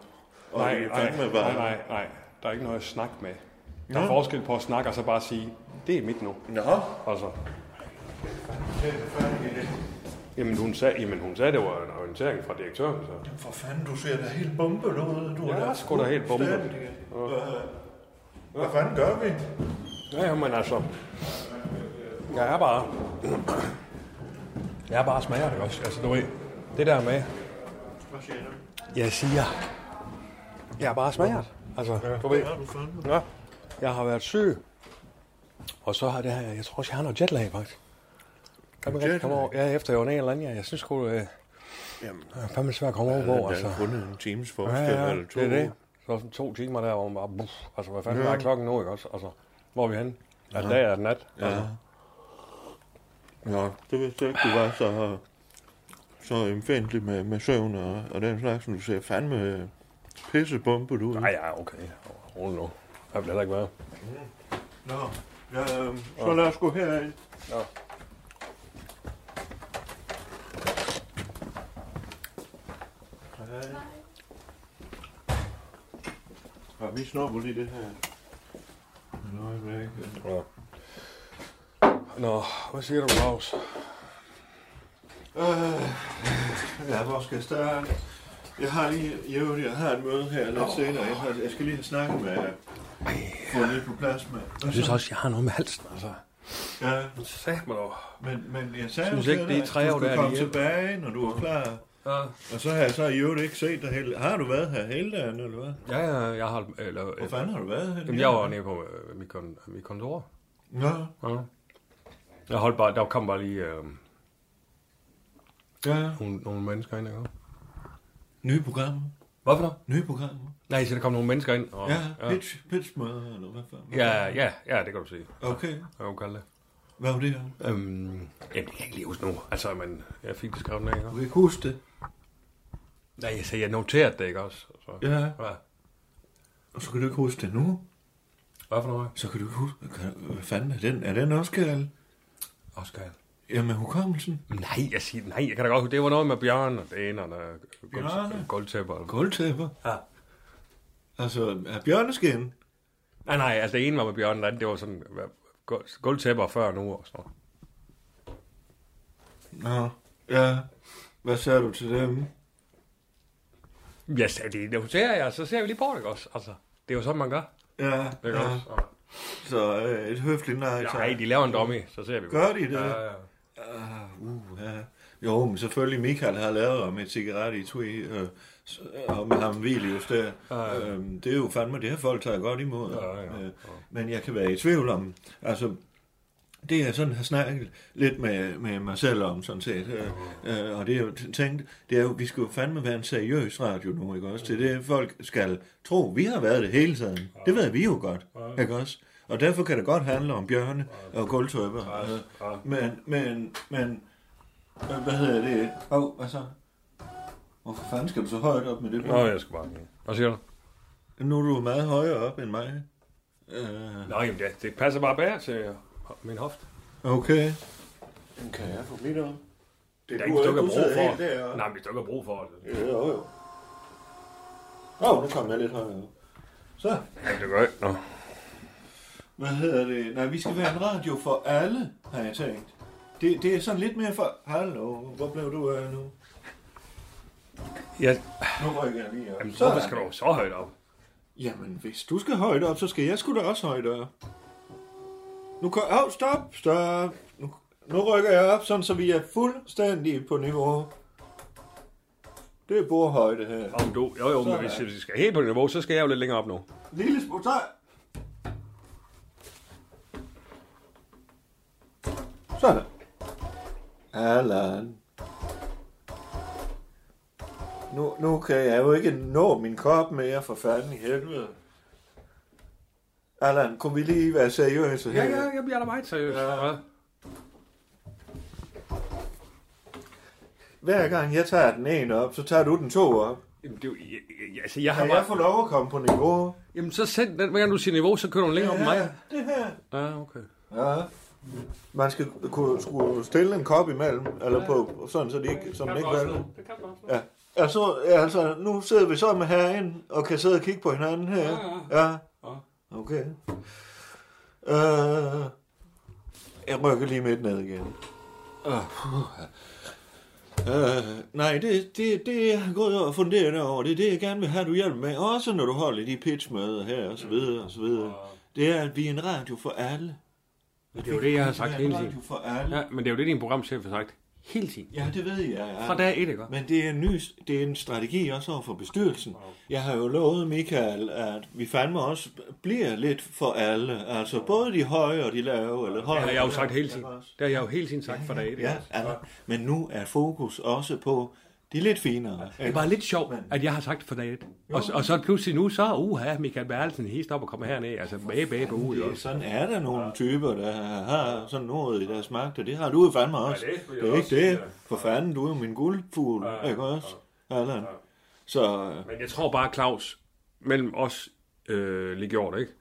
Speaker 1: og
Speaker 2: Nej,
Speaker 1: I er
Speaker 2: nej,
Speaker 1: fandme
Speaker 2: nej,
Speaker 1: bare...
Speaker 2: nej, nej. Der er ikke noget at snakke med. Der er
Speaker 1: Nå.
Speaker 2: forskel på at snakke og så bare sige, det er mit nu.
Speaker 1: Nå.
Speaker 2: Altså. Jamen hun sagde, jamen, hun sagde det var en orientering fra direktøren. Så.
Speaker 1: For fanden, du ser da helt bombet ud. Du
Speaker 2: Ja,
Speaker 1: da
Speaker 2: sgu da helt bombet.
Speaker 1: fuldstændig. Hvad, hvad fanden gør vi?
Speaker 2: Ja, ja, men altså. Jeg er bare... Jeg er bare smager det også. Altså, du ved, det der med...
Speaker 1: Hvad siger du?
Speaker 2: Jeg siger... Jeg er bare smager. Altså, du ved...
Speaker 1: Ja, du fandme.
Speaker 2: Ja. Jeg har været syg. Og så har det her... Jeg tror også, jeg har noget jetlag, faktisk. Kan man rigtig komme over? Ja, efter jeg var ned eller andet. ja. Jeg synes sgu... Øh,
Speaker 1: Jamen,
Speaker 2: det er fandme svært at komme over på,
Speaker 1: der
Speaker 2: altså.
Speaker 1: er kun en times
Speaker 2: Ja,
Speaker 1: forskel,
Speaker 2: ja,
Speaker 1: eller
Speaker 2: det
Speaker 1: to.
Speaker 2: er det. Så sådan to timer der, hvor man bare... Buff, altså, hvad fanden ja. er klokken nu, ikke også? Altså, hvor er vi henne? Er det dag, er det nat?
Speaker 1: Mm.
Speaker 2: Altså.
Speaker 1: Ja. Nå, det vidste jeg ikke, du var så, så empfindelig med, med søvn og, og den slags, som du ser fandme pissebombet ud.
Speaker 2: Nej, ja, okay. Rolig nu. Jeg bliver heller ikke være.
Speaker 1: Nå, ja, øhm, så lad os gå herind.
Speaker 2: Ja.
Speaker 1: Hej. Ja, vi snupper lige det her. Et øjeblik.
Speaker 2: Ja. Nå, hvad siger du, Claus?
Speaker 1: Øh, ja, hvor skal jeg starte? Jeg har lige, jeg, ved, jeg har et møde her lidt senere. Jeg, har, jeg skal lige have snakket med jer. Få lidt på plads med. Hvad
Speaker 2: Jeg synes
Speaker 1: så?
Speaker 2: også, jeg har noget med halsen, altså.
Speaker 1: Ja,
Speaker 2: Sæt mig dog.
Speaker 1: men, men jeg sagde
Speaker 2: Synes
Speaker 1: jo
Speaker 2: ikke,
Speaker 1: til
Speaker 2: det er
Speaker 1: dig,
Speaker 2: tre
Speaker 1: at
Speaker 2: år,
Speaker 1: du
Speaker 2: der
Speaker 1: skulle
Speaker 2: er
Speaker 1: komme
Speaker 2: lige-
Speaker 1: tilbage, når du er klar.
Speaker 2: Ja,
Speaker 1: Og så har jeg så i øvrigt ikke set dig hele... Har du været her hele dagen, eller hvad?
Speaker 2: ja, ja, jeg har... Eller,
Speaker 1: Hvor fanden har du været her?
Speaker 2: jamen, jeg var nede på øh, mit, kon, mit kontor.
Speaker 1: Nå,
Speaker 2: Ja. Jeg holdt bare... Der kom bare lige øh,
Speaker 1: ja.
Speaker 2: nogle, nogle mennesker ind, ikke?
Speaker 1: Nye programmer.
Speaker 2: Hvorfor der?
Speaker 1: Nye programmer.
Speaker 2: Nej, så der kom nogle mennesker ind. Og,
Speaker 1: Ja,
Speaker 2: ja.
Speaker 1: pitch, pitchmøder, eller hvad fanden?
Speaker 2: Ja, ja, ja, det kan du sige.
Speaker 1: Okay,
Speaker 2: Jeg kan kalde det.
Speaker 1: hvad var det her?
Speaker 2: Øhm, jamen, det kan jeg ikke lige huske nu. Altså, men jeg fik det skrevet ned, ikke?
Speaker 1: Du kan ikke huske det.
Speaker 2: Nej, jeg sagde, jeg noterede det, ikke også? Så,
Speaker 1: Ja,
Speaker 2: Hvad?
Speaker 1: og så kan du ikke huske det nu.
Speaker 2: Hvad for noget?
Speaker 1: Så kan du ikke huske... Kan, hvad fanden er den? Er den også gal?
Speaker 2: Oscar.
Speaker 1: Jamen, hukommelsen.
Speaker 2: Nej, jeg siger, nej, jeg kan da godt huske, det var noget med Bjørn og det ene, og der
Speaker 1: Bjørne?
Speaker 2: guld- guldtæpper. eller-
Speaker 1: Guldtæpper.
Speaker 2: Ja.
Speaker 1: Altså, er bjørneskin?
Speaker 2: Nej, nej, altså det ene var med Bjørn, og det andet, det var sådan hvad, guld- guldtæpper før nu og sådan noget.
Speaker 1: Nå, ja. Hvad sagde du til dem?
Speaker 2: Jeg sagde, det noterer jeg, så ser vi lige på det, ikke også? Altså, det er jo sådan, man gør.
Speaker 1: Ja,
Speaker 2: Ikke
Speaker 1: ja.
Speaker 2: også? Og,
Speaker 1: Så øh, et høfligt nej, tak.
Speaker 2: nej, de laver en dummy, så ser vi på
Speaker 1: Gør de det?
Speaker 2: Ja, ja.
Speaker 1: Ah, uh, ja. Jo, men selvfølgelig Michael har lavet om et cigaret i Tui, øh, s- om ham Vilius der.
Speaker 2: Ja.
Speaker 1: Øh, det er jo fandme, det her folk tager godt imod.
Speaker 2: Ja, ja, ja.
Speaker 1: Øh, men jeg kan være i tvivl om, altså, det jeg sådan har snakket lidt med, med mig selv om, sådan set, øh, øh, og det er jo t- tænkt, det er jo, vi skal jo fandme være en seriøs radio nu, ikke også? Det er det, folk skal tro. Vi har været det hele tiden. Det ved vi jo godt, ikke også? Og derfor kan det godt handle om bjørne og guldtøber. Øh, men, men, men, øh, hvad hedder det? Åh, oh, hvad så? Hvorfor fanden skal du så højt op med det?
Speaker 2: Nå, jeg skal bare... Hvad siger du?
Speaker 1: Nu er du meget højere op end mig. Øh,
Speaker 2: Nå, jamen, det, det passer bare bedre til min hoft.
Speaker 1: okay. Kan jeg få mit op? Det
Speaker 2: Der er ikke stykker brug for.
Speaker 1: det.
Speaker 2: Nej, men det er stykker brug for det.
Speaker 1: Øh, Jo, jo. Åh, oh, nu kom jeg lidt højere op. Så,
Speaker 2: Jamen, det gør ikke. Nå.
Speaker 1: hvad hedder det? Nej, vi skal være en radio for alle, har jeg tænkt. Det, det er sådan lidt mere for... Hallo, hvor blev du af nu?
Speaker 2: Ja,
Speaker 1: Nu rykker jeg lige op.
Speaker 2: jamen,
Speaker 1: Sådan.
Speaker 2: hvorfor skal du så højt op?
Speaker 1: Jamen, hvis du skal højt op, så skal jeg sgu da også højt op. Nu kan... Åh, oh, stop, stop. Nu, nu rykker jeg op, sådan så vi er fuldstændig på niveau. Det er bordhøjde her.
Speaker 2: Om du, jo, jo, men
Speaker 1: Sådan.
Speaker 2: hvis, hvis vi skal helt på niveau, så skal jeg jo lidt længere op nu.
Speaker 1: Lille smule, så... Sådan. Allan. Nu, nu kan jeg jo ikke nå min kop mere, for fanden i helvede. Allan, kunne vi lige være seriøse
Speaker 2: Ja,
Speaker 1: her?
Speaker 2: ja, jeg bliver da meget seriøs. Ja.
Speaker 1: Hver gang jeg tager den ene op, så tager du den to op.
Speaker 2: Jamen, det er jo, jeg, jeg, altså, jeg har
Speaker 1: Kan jeg få lov at komme på niveau?
Speaker 2: Jamen, så send den. Hver gang du siger niveau, så kører du længere ja. op end mig.
Speaker 1: det her.
Speaker 2: Ja, okay.
Speaker 1: Ja. Man skal kunne skulle stille en kop imellem, eller på, sådan, så de ikke, så man ikke vælger.
Speaker 2: Det kan man også.
Speaker 1: Ja. Altså, ja, altså, nu sidder vi så med herinde, og kan sidde og kigge på hinanden her.
Speaker 2: Ja,
Speaker 1: Ja. Okay. Øh, jeg rykker lige midt ned igen. Øh, puha. Øh, nej, det, det, det jeg har gået og funderet over, det er det, jeg gerne vil have, du hjælper med. Også når du holder de pitchmøder her, og så videre, og så videre. Det er, at vi er en radio for alle.
Speaker 2: Men det er jo det, jeg har sagt
Speaker 1: Ja,
Speaker 2: hele
Speaker 1: det er
Speaker 2: tiden.
Speaker 1: jo for alle.
Speaker 2: Ja, men det er jo det, din programchef har sagt hele tiden.
Speaker 1: Ja, det ved jeg. Ja.
Speaker 2: Fra dag et, ikke?
Speaker 1: Men det er, en ny, det er en strategi også over for bestyrelsen. Jeg har jo lovet Michael, at vi fandme også bliver lidt for alle. Altså både de høje og de lave. Eller høje
Speaker 2: Det har jeg jo
Speaker 1: og
Speaker 2: sagt
Speaker 1: lave.
Speaker 2: hele tiden. Det har jeg jo hele tiden sagt fra dag et. ikke
Speaker 1: Ja,
Speaker 2: også?
Speaker 1: altså, men nu er fokus også på de lidt finere.
Speaker 2: Det er bare lidt sjovt, at jeg har sagt for dag et. Og, og så pludselig nu, så uha, Michael Berlsen hist op og kommer herned. Altså, bage, bage, uge.
Speaker 1: Det er sådan er der nogle typer, der har sådan noget i deres magt, og det har du jo fandme også.
Speaker 2: Ja, det skulle jeg
Speaker 1: det er
Speaker 2: også
Speaker 1: ikke
Speaker 2: sige,
Speaker 1: det. For fanden, du er jo min guldfugl, ikke også? Allan. Så
Speaker 2: Men jeg tror bare, Claus, mellem os øh, lige gjort, ikke?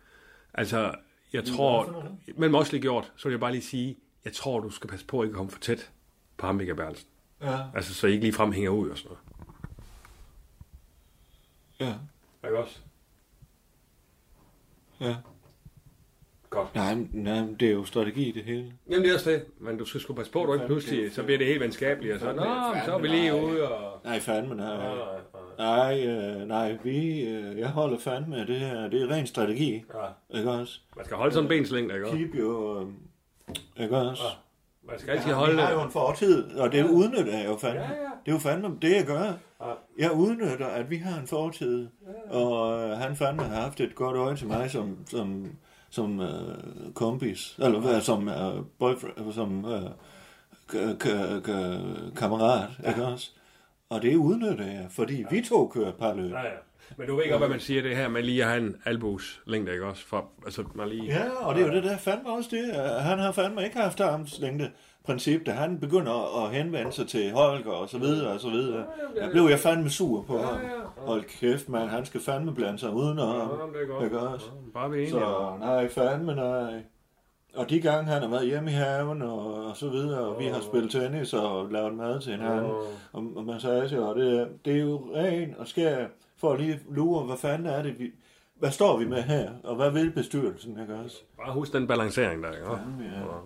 Speaker 2: Altså, jeg tror, mellem os lige gjort, så vil jeg bare lige sige, jeg tror, du skal passe på at ikke komme for tæt på ham, Michael Berlsen.
Speaker 1: Ja.
Speaker 2: Altså, så I ikke lige frem hænger ud og sådan noget.
Speaker 1: Ja.
Speaker 2: Ikke også?
Speaker 1: Ja.
Speaker 2: Godt.
Speaker 1: Nej, men- nej, men det er jo strategi det hele.
Speaker 2: Jamen, det er også det. Men du skal sgu passe på, at du ikke pludselig, så bliver det helt venskabeligt. Og så, Nå, men så er vi lige ude og...
Speaker 1: Nej, fandme nej. Nej, øh, nej, vi, øh, jeg holder fandme af det her. Det er ren strategi, ja. ikke også?
Speaker 2: Man skal holde sådan bens længde, ikke også?
Speaker 1: Keep your, øh, ikke også? Ja.
Speaker 2: Man skal altid
Speaker 1: Ja,
Speaker 2: holde...
Speaker 1: Jeg har jo en fortid, og det udnytter jeg jo fandme. Ja, ja. Det er jo fandme det, jeg gør. Jeg udnytter, at vi har en fortid, og øh, han fandme har haft et godt øje til mig som, som, som øh, kompis, eller hvad, som øh, boyfriend, som øh, k- k- k- kammerat, ja. ikke også? Og det udnytter jeg, fordi vi to kører parløb.
Speaker 2: Ja, ja. Men du ved ikke, hvad man siger det her med lige at have en albus længde, ikke også? For, altså, man lige...
Speaker 1: Ja, og det er jo det der fandme også det. at Han har fandme ikke haft armslængde princip, da han begynder at henvende sig til Holger og så videre og så videre. Der blev jeg fandme sur på ham. Hold kæft, mand, han skal fandme blande sig udenom.
Speaker 2: det er godt.
Speaker 1: Ikke også?
Speaker 2: Bare vi er enige.
Speaker 1: Så nej, fandme nej. Og de gange han har været hjemme i haven og, og så videre, og vi har spillet tennis og lavet mad til hinanden, og, og massage, og det, det er jo ren og skær for at lige lure, hvad fanden er det, vi, hvad står vi med her, og hvad vil bestyrelsen, ikke også?
Speaker 2: Bare husk den balancering der, ikke også?
Speaker 1: Ja.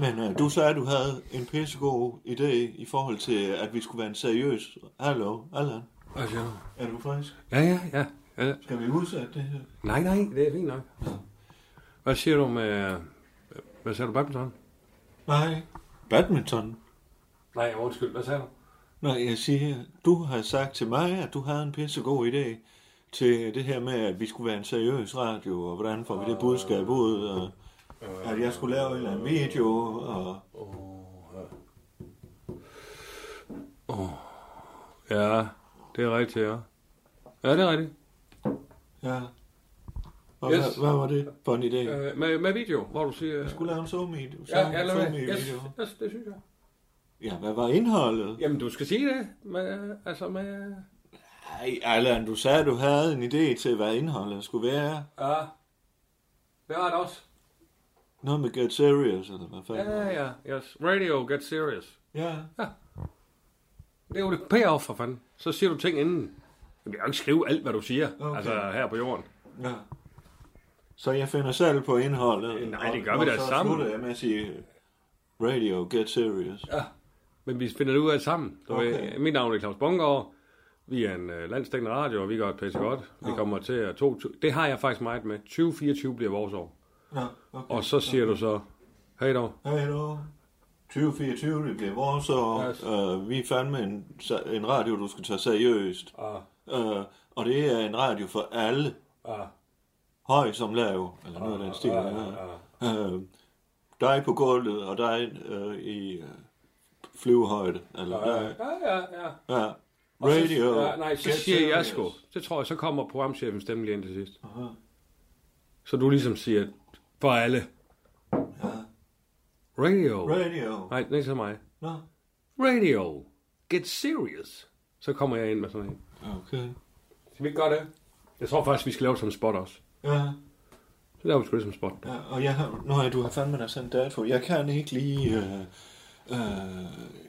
Speaker 1: Men øh, du sagde, at du havde en pissegod idé i forhold til, at vi skulle være en seriøs. Hallo, Allan,
Speaker 2: Hvad siger du?
Speaker 1: er du frisk?
Speaker 2: Altså, Ja, ja, ja. ja.
Speaker 1: Skal vi udsætte det her?
Speaker 2: Nej, nej, det er fint nok. Hvad siger du med... Hvad sagde du, badminton?
Speaker 1: Nej. Badminton?
Speaker 2: Nej, undskyld, hvad sagde du?
Speaker 1: Når jeg siger, du har sagt til mig, at du havde en pissegod idé til det her med, at vi skulle være en seriøs radio, og hvordan får vi det budskab ud, og at jeg skulle lave en eller anden video, og...
Speaker 2: Ja, det er rigtigt, ja. Ja, det er rigtigt.
Speaker 1: Ja. Og
Speaker 2: Yes.
Speaker 1: yes. hvad, hvad var det for en idé?
Speaker 2: Øh, med, med video, hvor du siger...
Speaker 1: Du skulle lave en somi
Speaker 2: Ja, ja, lad mig.
Speaker 1: video.
Speaker 2: Yes, yes, det synes jeg.
Speaker 1: Ja, hvad var indholdet?
Speaker 2: Jamen, du skal sige det. Med, altså med...
Speaker 1: Ej, Allan, du sagde, at du havde en idé til, hvad indholdet skulle være.
Speaker 2: Ja. Det har det også.
Speaker 1: Noget med Get Serious, eller hvad fanden?
Speaker 2: Ja, ja, yes. Radio, get serious.
Speaker 1: Ja.
Speaker 2: Det er jo det payoff, for fanden. Så siger du ting inden. Jamen, jeg kan ikke skrive alt, hvad du siger.
Speaker 1: Okay.
Speaker 2: Okay. Altså her på jorden.
Speaker 1: ja. Så jeg finder selv på indholdet.
Speaker 2: Nej, det gør
Speaker 1: og-
Speaker 2: vi
Speaker 1: og
Speaker 2: da
Speaker 1: så
Speaker 2: sammen.
Speaker 1: slutter jeg med at sige, Radio, Get Serious.
Speaker 2: Ja. Men vi finder det ud af det sammen. Du
Speaker 1: Okay.
Speaker 2: okay. ved, mit navn er Claus Bunker. Vi er en uh, landstækkende radio, og vi gør det pisse godt. Vi kommer til at... To, to, det har jeg faktisk meget med. 2024 bliver vores år.
Speaker 1: Ja, okay.
Speaker 2: Og så siger du så... Hej dog.
Speaker 1: Hallo. 2024, det bliver vores år.
Speaker 2: Yes.
Speaker 1: Øh, vi er fandme en, en radio, du skal tage seriøst.
Speaker 2: Ah,
Speaker 1: Øh, og det er en radio for alle.
Speaker 2: ah.
Speaker 1: høj som lav, eller noget af den stil. Ja, ja. Øh, dig på gulvet, og dig øh, i øh, flyvehøjde. Eller
Speaker 2: Ah, Ja,
Speaker 1: dig,
Speaker 2: ja, ja. ja.
Speaker 1: ja.
Speaker 2: Og så-
Speaker 1: Radio.
Speaker 2: Ja, nej, så
Speaker 1: get
Speaker 2: siger jeg
Speaker 1: serious.
Speaker 2: sgu. Det tror jeg, så kommer programchefen stemme lige ind til sidst. Så du ligesom siger, for alle. Radio.
Speaker 1: Radio.
Speaker 2: Nej, ikke så mig.
Speaker 1: Nå,
Speaker 2: Radio. Get serious. Så kommer jeg ind med sådan en.
Speaker 1: okay.
Speaker 2: Skal vi ikke gøre det? Jeg tror faktisk, vi skal lave det som spot også.
Speaker 1: Ja,
Speaker 2: Så laver vi sgu det som spot.
Speaker 1: ja, og jeg har... Nå, du har fandme da sendt dato. Jeg kan ikke lige... Øh, øh,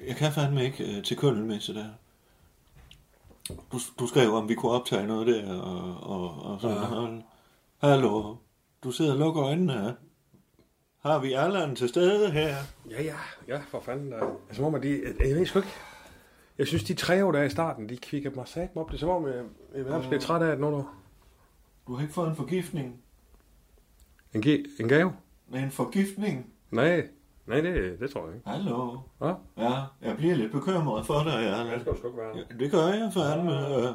Speaker 1: jeg kan fandme ikke øh, til køllen med så der. Du, du skrev, om vi kunne optage noget der, og, og, og sådan noget. Hallo, du sidder og lukker øjnene. Har vi Allan til stede her?
Speaker 2: Ja, ja, ja, for fanden. øh, Altså, må man de, øh, jeg ved sgu ikke. Jeg synes, de tre år der er i starten, de kvikker mig sat op. Det er som om, jeg, jeg nærmest bliver træt af, at når du...
Speaker 1: Du har ikke fået en forgiftning.
Speaker 2: En, ge, en gave?
Speaker 1: Men en forgiftning?
Speaker 2: Nej, nej, det, det tror jeg ikke.
Speaker 1: Hallo?
Speaker 2: Ja.
Speaker 1: Ja, jeg bliver lidt bekymret for dig, Allan.
Speaker 2: skal du sgu ikke være.
Speaker 1: Ja, det gør jeg fandme. Øh,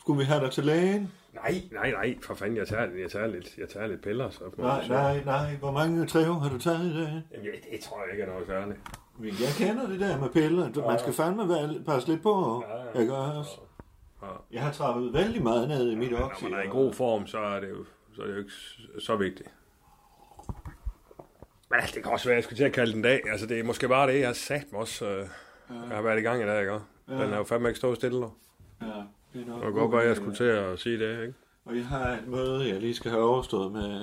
Speaker 1: skulle vi have dig til lægen?
Speaker 2: Nej, nej, nej, for fanden, jeg tager, jeg tager, lidt, jeg tager lidt piller. Så
Speaker 1: Nej, nej, nej. Hvor mange træver har du taget i dag?
Speaker 2: Jamen, jeg, det tror jeg ikke er noget særligt.
Speaker 1: Men Jeg kender det der med piller. Du- Man skal fandme være, passe lidt på.
Speaker 2: Ja, ja.
Speaker 1: Jeg gør også. Jeg har trappet vældig meget ned i mit
Speaker 2: Når
Speaker 1: oxy.
Speaker 2: man er i god form, så er det jo, så er det jo ikke s- så vigtigt. Men altså, det kan også være, at jeg skulle til at kalde den dag. Altså, det er måske bare det, jeg har sat mig også. Øh, jeg har været i gang i dag, ikke? Den er jo fandme ikke stået stille. dog.
Speaker 1: Ja, det er nok
Speaker 2: Det kunne godt være, at jeg skulle til at sige det, ikke?
Speaker 1: Og jeg har et møde, jeg lige skal have overstået med...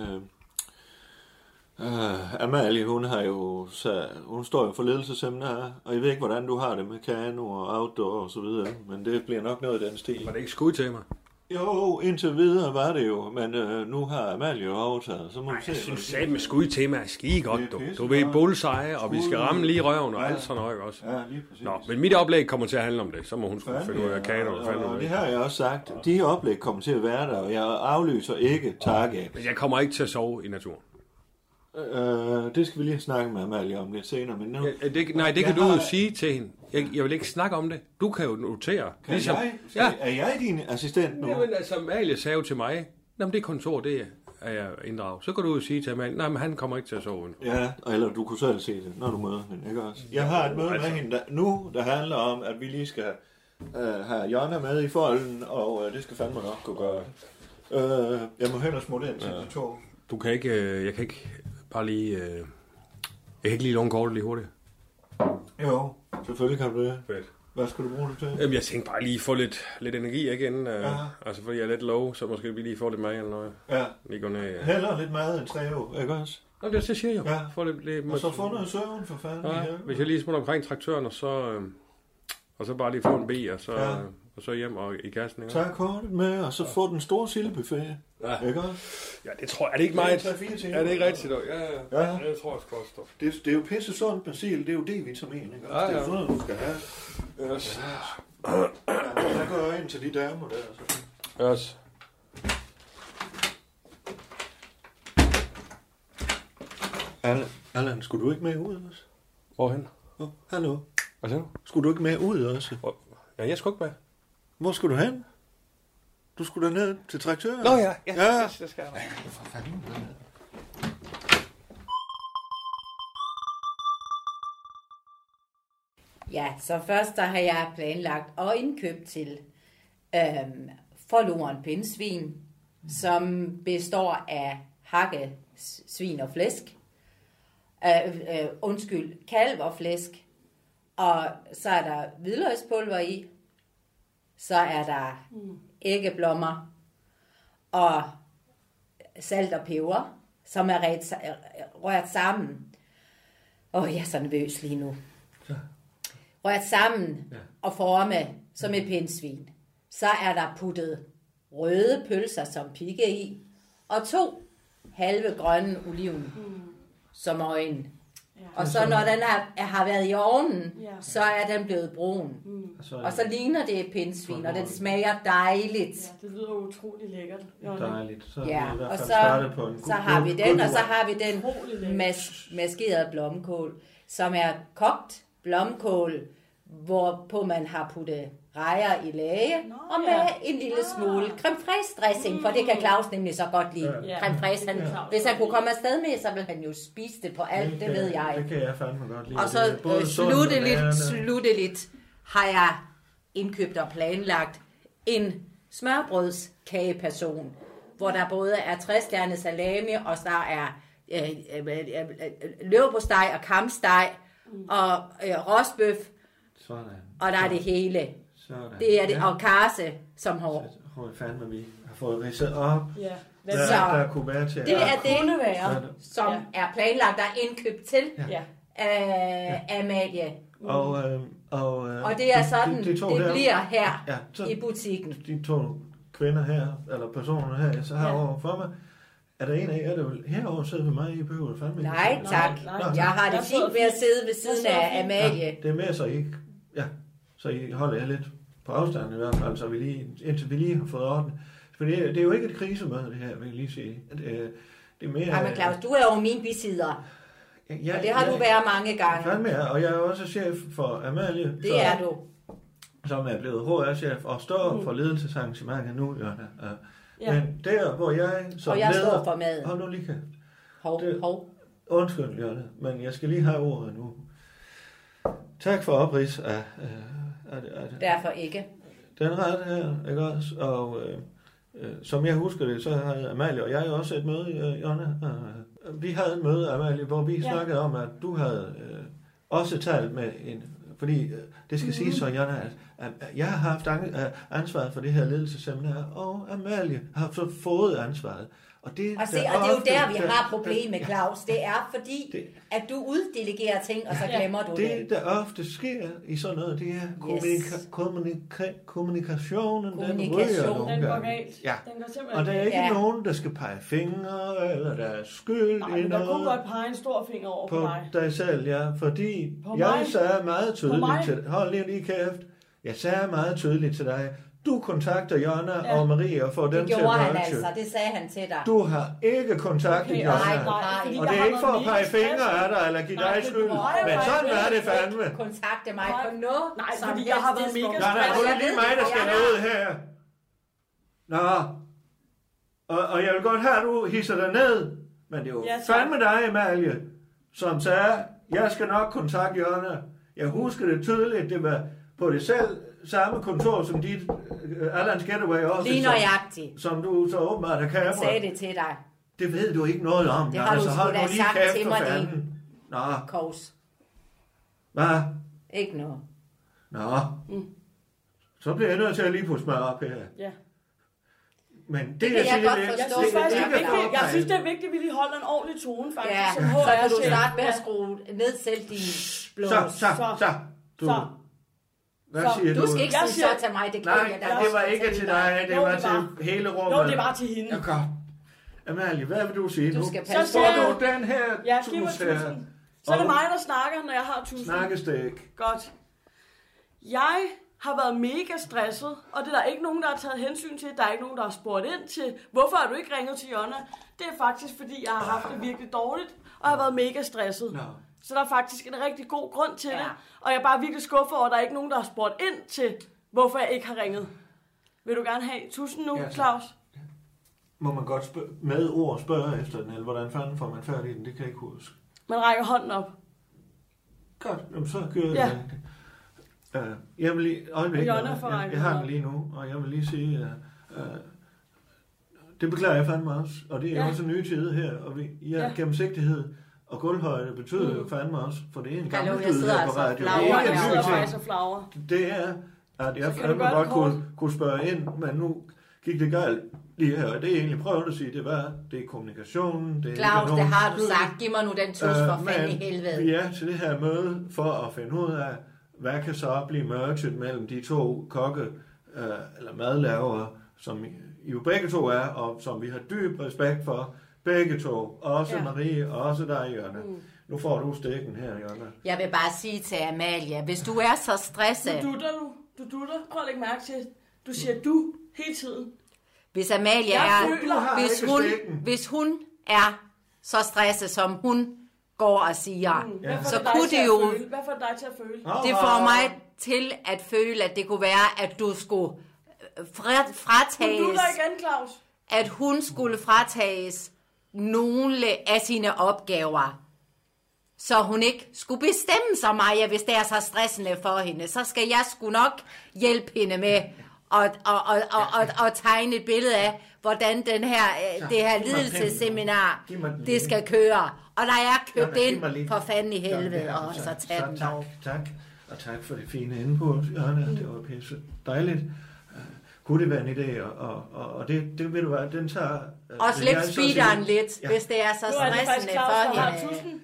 Speaker 1: Øh, øh, Amalie, hun har jo... Så, hun står jo for ledelseseminar, og jeg ved ikke, hvordan du har det med kano og outdoor og så videre, men det bliver nok noget i den stil.
Speaker 2: Var det ikke skud til mig?
Speaker 1: Jo, indtil videre var det jo, men øh, nu har Amalie jo overtaget, så må vi
Speaker 2: Jeg
Speaker 1: se.
Speaker 2: synes sat med skud til mig er skide godt, du.
Speaker 1: Det er
Speaker 2: Du ved,
Speaker 1: pisse
Speaker 2: bullseye, og vi skal
Speaker 1: Skud.
Speaker 2: ramme lige røven og
Speaker 1: Ja.
Speaker 2: alt sådan noget, ikke også?
Speaker 1: Ja, lige præcis.
Speaker 2: Nå, men mit oplæg kommer til at handle om det. Så må hun skulle finde ud af kano og fandme.
Speaker 1: og
Speaker 2: ud
Speaker 1: det
Speaker 2: af.
Speaker 1: har jeg også sagt. De oplæg kommer til at være der, og jeg aflyser ikke takke.
Speaker 2: Men jeg kommer ikke til at sove i naturen.
Speaker 1: Øh, det skal vi lige snakke med Amalie om lidt senere, men nu...
Speaker 2: Ja, øh, det, nej, det
Speaker 1: Jeg
Speaker 2: kan du
Speaker 1: har-
Speaker 2: jo sige til hende. Jeg, jeg vil ikke snakke om det. Du kan jo notere. Ligesom-
Speaker 1: Kan jeg, skal,
Speaker 2: ja,
Speaker 1: Er jeg din assistent nu?
Speaker 2: jamen, altså, Amalie sagde jo til mig, jamen, det kontor, det er jeg inddraget. Så kan du jo sige til Amalie, nej, men han kommer ikke til at sove nu.
Speaker 1: Ja, eller du kunne selv se det, når du møder hende, ikke også? altså. Jeg har et møde med hende der, nu, der handler om, at vi lige skal øh, have Jonna med i folden, og øh, det skal fandme nok kunne gøre. Øh, jeg må hellere smutte ind til de to.
Speaker 2: Du kan ikke, øh, jeg kan ikke bare lige, øh, jeg kan ikke lige låne kortet lige hurtigt.
Speaker 1: Jo, selvfølgelig kan du det.
Speaker 2: Fedt.
Speaker 1: Hvad skal du bruge det til?
Speaker 2: Jamen, jeg tænkte bare lige få lidt, lidt energi ikke inden, øh,
Speaker 1: Ja.
Speaker 2: altså fordi jeg er lidt low, så måske vi lige får lidt mad eller noget.
Speaker 1: Ja,
Speaker 2: Lige gå ned. Ja.
Speaker 1: hellere lidt mad end tre år, ikke også?
Speaker 2: Nå, det, så siger jeg jo.
Speaker 1: Ja.
Speaker 2: Få lidt, lidt,
Speaker 1: Og så få noget søvn for fanden.
Speaker 2: Ja, hvis jeg lige smutter omkring traktøren, og så, øh, og så bare lige få en B, og så,
Speaker 1: Ja.
Speaker 2: ja. og så hjem og i kassen. Ikke?
Speaker 1: Tag kortet med, og så få den store sildebuffet.
Speaker 2: Ja.
Speaker 1: Ikke også?
Speaker 2: Ja, det tror jeg. Er det ikke
Speaker 1: Det er
Speaker 2: meget?
Speaker 1: en tre-fire timer.
Speaker 2: Er det ikke rigtigt? dog? Ja, ja.
Speaker 1: Ja.
Speaker 2: ja. Det tror jeg sgu også. dog.
Speaker 1: Det, det er jo pisse sundt med sild, det er jo D-vitamin, ikke også?
Speaker 2: Ja,
Speaker 1: Det er
Speaker 2: ja.
Speaker 1: jo sådan noget, du skal have.
Speaker 2: Yes.
Speaker 1: Ja, der går jeg ind til de damer der. altså. Så.
Speaker 2: Yes.
Speaker 1: Allan, Allan, skulle du ikke med ud også?
Speaker 2: Hvorhen?
Speaker 1: Oh, hallo.
Speaker 2: Hvad siger du?
Speaker 1: Skulle du ikke med ud også?
Speaker 2: Hvor? Ja, jeg skulle ikke med.
Speaker 1: Hvor skulle du hen? Du skulle da ned til traktøren.
Speaker 2: Nå ja, ja,
Speaker 1: Ja.
Speaker 2: ja. Yes, det skal jeg.
Speaker 5: Ja, så først der har jeg planlagt og indkøbt til øhm, forloren pindsvin, som består af hakke, s- svin og flæsk. Øh, øh, undskyld, kalv og flæsk. Og så er der hvidløgspulver i. Så er der æggeblommer og salt og peber, som er ret, rørt sammen. Åh, jeg er så nervøs lige nu rørt sammen ja. og formet som et pindsvin. Så er der puttet røde pølser som pigge i, og to halve grønne oliven mm. som øjne. Ja. Og så når den er, er, har været i ovnen, ja. så er den blevet brun. Mm. Og så ligner det et pindsvin, og den smager dejligt.
Speaker 10: Det lyder utrolig lækkert. Jonna.
Speaker 1: Dejligt. Så
Speaker 5: Ja, og så, så har vi den, og så har vi den mas- maskerede blomkål, som er kogt blomkål hvorpå man har puttet rejer i læge, og med en lille
Speaker 1: Ah.
Speaker 5: smule creme fraise dressing, for det kan Claus nemlig så godt lide.
Speaker 1: Mm. Ja.
Speaker 5: Creme fraise, han,
Speaker 1: Ja.
Speaker 5: hvis han kunne komme afsted med, så ville han jo spise det på alt, det,
Speaker 1: kan-
Speaker 5: ved jeg.
Speaker 1: Det kan jeg fandme godt lide.
Speaker 5: Og så
Speaker 1: Det er både
Speaker 5: øh,
Speaker 1: sundt og
Speaker 5: slutteligt,
Speaker 1: nærende.
Speaker 5: slutteligt har jeg indkøbt og planlagt en smørbrødskageperson, hvor der både er træstjerne salami, og der er øh, øh, øh, øh, løvbosteg og kamsteg, og øh, rosbøf,
Speaker 1: Sådan.
Speaker 5: og der er det hele.
Speaker 1: Sådan.
Speaker 5: Det er det, og karse som hår.
Speaker 1: Hvor fandme vi har fået ridset op.
Speaker 5: Ja.
Speaker 1: Hvad
Speaker 5: Så-
Speaker 1: der, der kunne være til
Speaker 5: Det
Speaker 1: at-
Speaker 5: er
Speaker 1: Kunne
Speaker 5: det,
Speaker 1: være.
Speaker 5: som er planlagt og indkøbt til
Speaker 1: Ja.
Speaker 5: af Amalie.
Speaker 1: Og, øh, og, øh,
Speaker 5: Mm. Og det er sådan, det bliver her
Speaker 1: i
Speaker 5: butikken.
Speaker 1: De to kvinder her, eller personer her, så har ja. overfor mig. Er der en af jer, der vil herover sidde ved mig i behøver fandme? ikke
Speaker 5: Nej,
Speaker 1: at sidde.
Speaker 5: tak. Jeg har det fint med at sidde ved siden af Amalie.
Speaker 1: Ja, det er mere så I ikke. Ja, så I holder jer lidt på afstand i hvert fald, så vi lige, indtil vi lige har fået ordnet. For det, er- det er jo ikke et krisemøde, det her, vil jeg lige sige. Det, er- det er mere...
Speaker 5: Ja, men Claus, du er jo min bisider.
Speaker 1: Ja,
Speaker 5: og det har
Speaker 1: ja.
Speaker 5: du været mange gange.
Speaker 1: Fandme er, og jeg er også chef for Amalie.
Speaker 5: Det
Speaker 1: så-
Speaker 5: er du.
Speaker 1: som er blevet HR-chef og står mm. for ledelsesarrangementet nu, Jørgen. Og-
Speaker 5: Ja.
Speaker 1: Men der, hvor jeg som
Speaker 5: Og jeg
Speaker 1: leder...
Speaker 5: står for maden.
Speaker 1: Hold nu lige kæft.
Speaker 5: Hov, det... hov.
Speaker 1: Undskyld, Jørgen, men jeg skal lige have ordet nu. Tak for oprids af, øh, af, af, af
Speaker 5: Derfor ikke.
Speaker 1: den ret her, ikke også? Og øh, øh, som jeg husker det, så havde Amalie og jeg jo også et møde, øh, Jonna. Øh, vi havde et møde, Amalie, hvor vi
Speaker 11: Ja.
Speaker 1: ja. snakkede om, at du havde øh, også talt med en... Fordi øh, det skal mm-hmm. siges så,
Speaker 5: Mhm.
Speaker 1: Jonna, at, at jeg har haft an, øh, ansvaret for det her ledelsesseminar, og Amalie har så fået ansvaret. Og det,
Speaker 5: Og, se, og det er jo der, vi har problemet, Claus. Det er fordi, at du uddelegerer ting, og så glemmer du det.
Speaker 1: Det, der ofte sker i sådan noget, det er kommunika- yes. kommunika- kommunikationen, den ryger
Speaker 7: Kommunikationen,
Speaker 1: nogle
Speaker 7: den går
Speaker 1: gange.
Speaker 7: galt.
Speaker 1: Ja.
Speaker 7: Den går simpelthen
Speaker 1: Og der er
Speaker 7: galt.
Speaker 1: ikke
Speaker 7: Ja.
Speaker 1: ja. nogen, der skal pege fingre, eller der er skyld
Speaker 7: Nej,
Speaker 1: i
Speaker 7: men der kunne
Speaker 1: noget
Speaker 7: godt pege en stor finger over på,
Speaker 1: på
Speaker 7: mig.
Speaker 1: dig selv, ja. Fordi
Speaker 7: På
Speaker 1: jeg
Speaker 7: mig?
Speaker 1: sagde meget
Speaker 7: På mig?
Speaker 1: tydeligt til Hold lige, lige kæft. Jeg sagde meget tydeligt til dig. Du kontakter Jonna
Speaker 5: Ja.
Speaker 1: ja. og Marie og får dem
Speaker 5: Det
Speaker 1: til at
Speaker 5: gjorde han
Speaker 1: nudge.
Speaker 5: altså. Det sagde han til dig.
Speaker 1: Du har ikke kontaktet
Speaker 5: Okay,
Speaker 1: okay,
Speaker 5: nej,
Speaker 1: Jonna.
Speaker 5: nej, fordi
Speaker 1: og
Speaker 5: der
Speaker 1: det
Speaker 5: har
Speaker 1: er ikke for
Speaker 5: været
Speaker 1: at pege
Speaker 5: mega
Speaker 1: fingre
Speaker 5: stress.
Speaker 1: af dig eller give
Speaker 5: Nej,
Speaker 1: dig
Speaker 5: det
Speaker 1: skyld.
Speaker 5: må jeg
Speaker 1: Men
Speaker 5: faktisk
Speaker 1: sådan er det
Speaker 5: ikke
Speaker 1: fandme.
Speaker 5: kontakte mig på noget
Speaker 7: Nej,
Speaker 5: som
Speaker 7: fordi
Speaker 5: helst
Speaker 7: jeg har været
Speaker 5: tidspunkt.
Speaker 1: Nej, nej, nu er det lige mig, der skal noget her. Nå. Og, og jeg vil godt have, at du hisser dig ned. Men det er jo
Speaker 7: Ja, tak.
Speaker 1: fandme dig, Amalie, som sagde, jeg skal nok kontakte Jørgen. Jeg husker det tydeligt, det var på det selv samme kontor som dit uh, Allans Getaway også.
Speaker 5: Lige
Speaker 1: som-
Speaker 5: nøjagtigt.
Speaker 1: Som du så åbenbart er
Speaker 5: Han sagde
Speaker 1: kamera.
Speaker 5: det til dig.
Speaker 1: Det ved du ikke noget om.
Speaker 5: Det har du
Speaker 1: Jørgen, så
Speaker 5: sgu
Speaker 1: hold
Speaker 5: da
Speaker 1: nu lige
Speaker 5: sagt
Speaker 1: kæft
Speaker 5: til
Speaker 1: for
Speaker 5: mig,
Speaker 1: fanden.
Speaker 5: din
Speaker 1: Nå,
Speaker 5: Kovs.
Speaker 1: hvad?
Speaker 5: Ikke noget.
Speaker 1: Nå.
Speaker 5: Mm.
Speaker 1: Så bliver jeg nødt til at lige pusse mig op her.
Speaker 7: Ja.
Speaker 1: Men det,
Speaker 7: kan
Speaker 1: jeg,
Speaker 7: jeg
Speaker 1: siger,
Speaker 7: godt
Speaker 1: det er-
Speaker 7: Jeg
Speaker 1: det
Speaker 7: synes,
Speaker 1: er
Speaker 7: faktisk, det er
Speaker 1: ikke for
Speaker 7: vigtigt, jeg
Speaker 1: at
Speaker 7: synes, det er vigtigt, at vi lige holder en ordentlig tone, faktisk.
Speaker 5: Ja,
Speaker 7: som
Speaker 5: så kan du
Speaker 7: HR-chef.
Speaker 5: starte med at
Speaker 7: Ja.
Speaker 5: skrue ned selv din blås.
Speaker 1: Så, så, så. Du,
Speaker 5: Så.
Speaker 1: hvad
Speaker 5: Så.
Speaker 1: siger
Speaker 5: Du
Speaker 1: du?
Speaker 5: skal ikke sige så til mig, det kan
Speaker 1: Nej,
Speaker 5: jeg da
Speaker 1: det
Speaker 5: også
Speaker 1: var
Speaker 5: godt
Speaker 1: ikke
Speaker 5: sige
Speaker 1: til
Speaker 5: dig.
Speaker 1: dig, det
Speaker 5: Jo,
Speaker 1: var
Speaker 5: det
Speaker 1: til hele rummet.
Speaker 7: Jo, det var til hende.
Speaker 1: Ja, godt. Amalie, hvad vil du sige nu?
Speaker 7: Du skal
Speaker 1: så
Speaker 7: passe
Speaker 1: får
Speaker 7: på.
Speaker 1: du den her
Speaker 7: Ja, giv mig
Speaker 1: tus her.
Speaker 7: tusind. Så er det mig, der snakker, når jeg har tusind.
Speaker 1: Snakkestik.
Speaker 7: Godt. Jeg har været mega stresset, og det er der ikke nogen, der har taget hensyn til. Der er ikke nogen, der har spurgt ind til, hvorfor har du ikke ringet til Jonna? Det er faktisk, fordi jeg har haft det virkelig dårligt, og har været mega stresset.
Speaker 1: No.
Speaker 7: Så der er faktisk en rigtig god grund til ja. det, og jeg er bare virkelig skuffet over, at der er ikke nogen, der har spurgt ind til, hvorfor jeg ikke har ringet. Vil du gerne have tusind nu,
Speaker 1: Ja, tak.
Speaker 7: Claus?
Speaker 1: Må man godt spørge, med ord spørge efter den, eller hvordan fanden får man færdig den? Det kan jeg ikke huske.
Speaker 7: Man rækker hånden op.
Speaker 1: Godt, jamen, så kører
Speaker 7: Ja.
Speaker 1: ja. jeg. Øh, jeg vil lige, øjeblik,
Speaker 7: Jonna
Speaker 1: jeg,
Speaker 7: får
Speaker 1: jeg,
Speaker 7: rækket
Speaker 1: jeg har
Speaker 7: hånden
Speaker 1: den lige nu, og jeg vil lige sige, øh, øh, det beklager jeg fandme også, og det er
Speaker 11: Ja.
Speaker 1: ja. også en ny tid her, og vi, ja,
Speaker 11: Ja.
Speaker 1: ja. gennemsigtighed og gulvhøjde betyder
Speaker 11: Mm.
Speaker 1: mm. jo fandme også, for det er en
Speaker 11: Hallo,
Speaker 1: gammel
Speaker 11: jeg
Speaker 1: lyd
Speaker 11: sidder
Speaker 1: her
Speaker 11: altså
Speaker 1: på radio.
Speaker 11: og
Speaker 1: det er
Speaker 11: flagrer.
Speaker 1: ikke
Speaker 11: Jeg sidder
Speaker 1: en ny
Speaker 7: faktisk
Speaker 1: ting.
Speaker 7: og flagrer.
Speaker 1: Det er, at jeg
Speaker 7: Så kan du
Speaker 1: fandme
Speaker 7: gøre
Speaker 1: godt
Speaker 7: det kort.
Speaker 1: kunne, kunne spørge ind, men nu gik det galt lige her, og det er egentlig prøvet at sige, det var, det er kommunikationen, det er ikke
Speaker 5: Claus, det
Speaker 1: nogens
Speaker 5: har du
Speaker 1: skyld.
Speaker 5: sagt. Giv mig nu den tus for fanden i helvede.
Speaker 1: Øh, Vi er til det her møde for at finde ud af, hvad kan så blive merged mellem de to kokke, øh, eller madlavere, som I I jo begge to er, og som vi har dyb respekt for, begge to. Også
Speaker 5: Ja.
Speaker 1: ja. Marie, også dig, Jørgen.
Speaker 5: Mm.
Speaker 1: Mm. Nu får du stikken her, Jørgen.
Speaker 5: Jeg vil bare sige til Amalie, hvis du er så stresset,
Speaker 7: Du dutter, du. Du dutter. Prøv at lægge mærke til, du
Speaker 1: Mm.
Speaker 7: siger du hele tiden.
Speaker 5: hvis Amalie
Speaker 7: Jeg
Speaker 5: er,
Speaker 7: føler- Du har
Speaker 5: hvis
Speaker 7: ikke
Speaker 5: hun,
Speaker 7: stikken.
Speaker 5: hvis hun er så stresset, som hun går og siger,
Speaker 7: Mm.
Speaker 5: mm,
Speaker 7: Hvad
Speaker 5: ja.
Speaker 7: får
Speaker 5: så
Speaker 7: det dig
Speaker 5: kunne
Speaker 7: til at
Speaker 5: det jo...
Speaker 7: føle? Hvad får det dig til at føle?
Speaker 5: Det får mig til at føle, at det kunne være, at du skulle øh, fra-
Speaker 7: Hun
Speaker 5: fratages,
Speaker 7: dutter igen, Claus.
Speaker 5: at hun skulle fratages nogle af sine opgaver, så hun ikke skulle bestemme sig Maja, hvis det er så stressende for hende. Så skal jeg sgu nok hjælpe hende med at, og, og, og, og, og tegne et billede af, hvordan den her, øh, det her lidelsesseminar, det skal køre. Og der er købt ind for fanden i helvede, og
Speaker 1: altså
Speaker 5: så tag den Mm.
Speaker 1: tak, tak. Og tak for det fine input, Jørgen. Det var pisse dejligt. Øh, Kunne det være en idé? Og, og, og, og det, det vil du være, den tager... øh,
Speaker 5: Og
Speaker 1: vil
Speaker 5: slip
Speaker 1: jeg så sige-
Speaker 5: speederen lidt, hvis det er så
Speaker 7: Nu er det faktisk
Speaker 5: stressende
Speaker 7: Claus,
Speaker 5: for
Speaker 7: der har
Speaker 5: hende.
Speaker 7: tusind.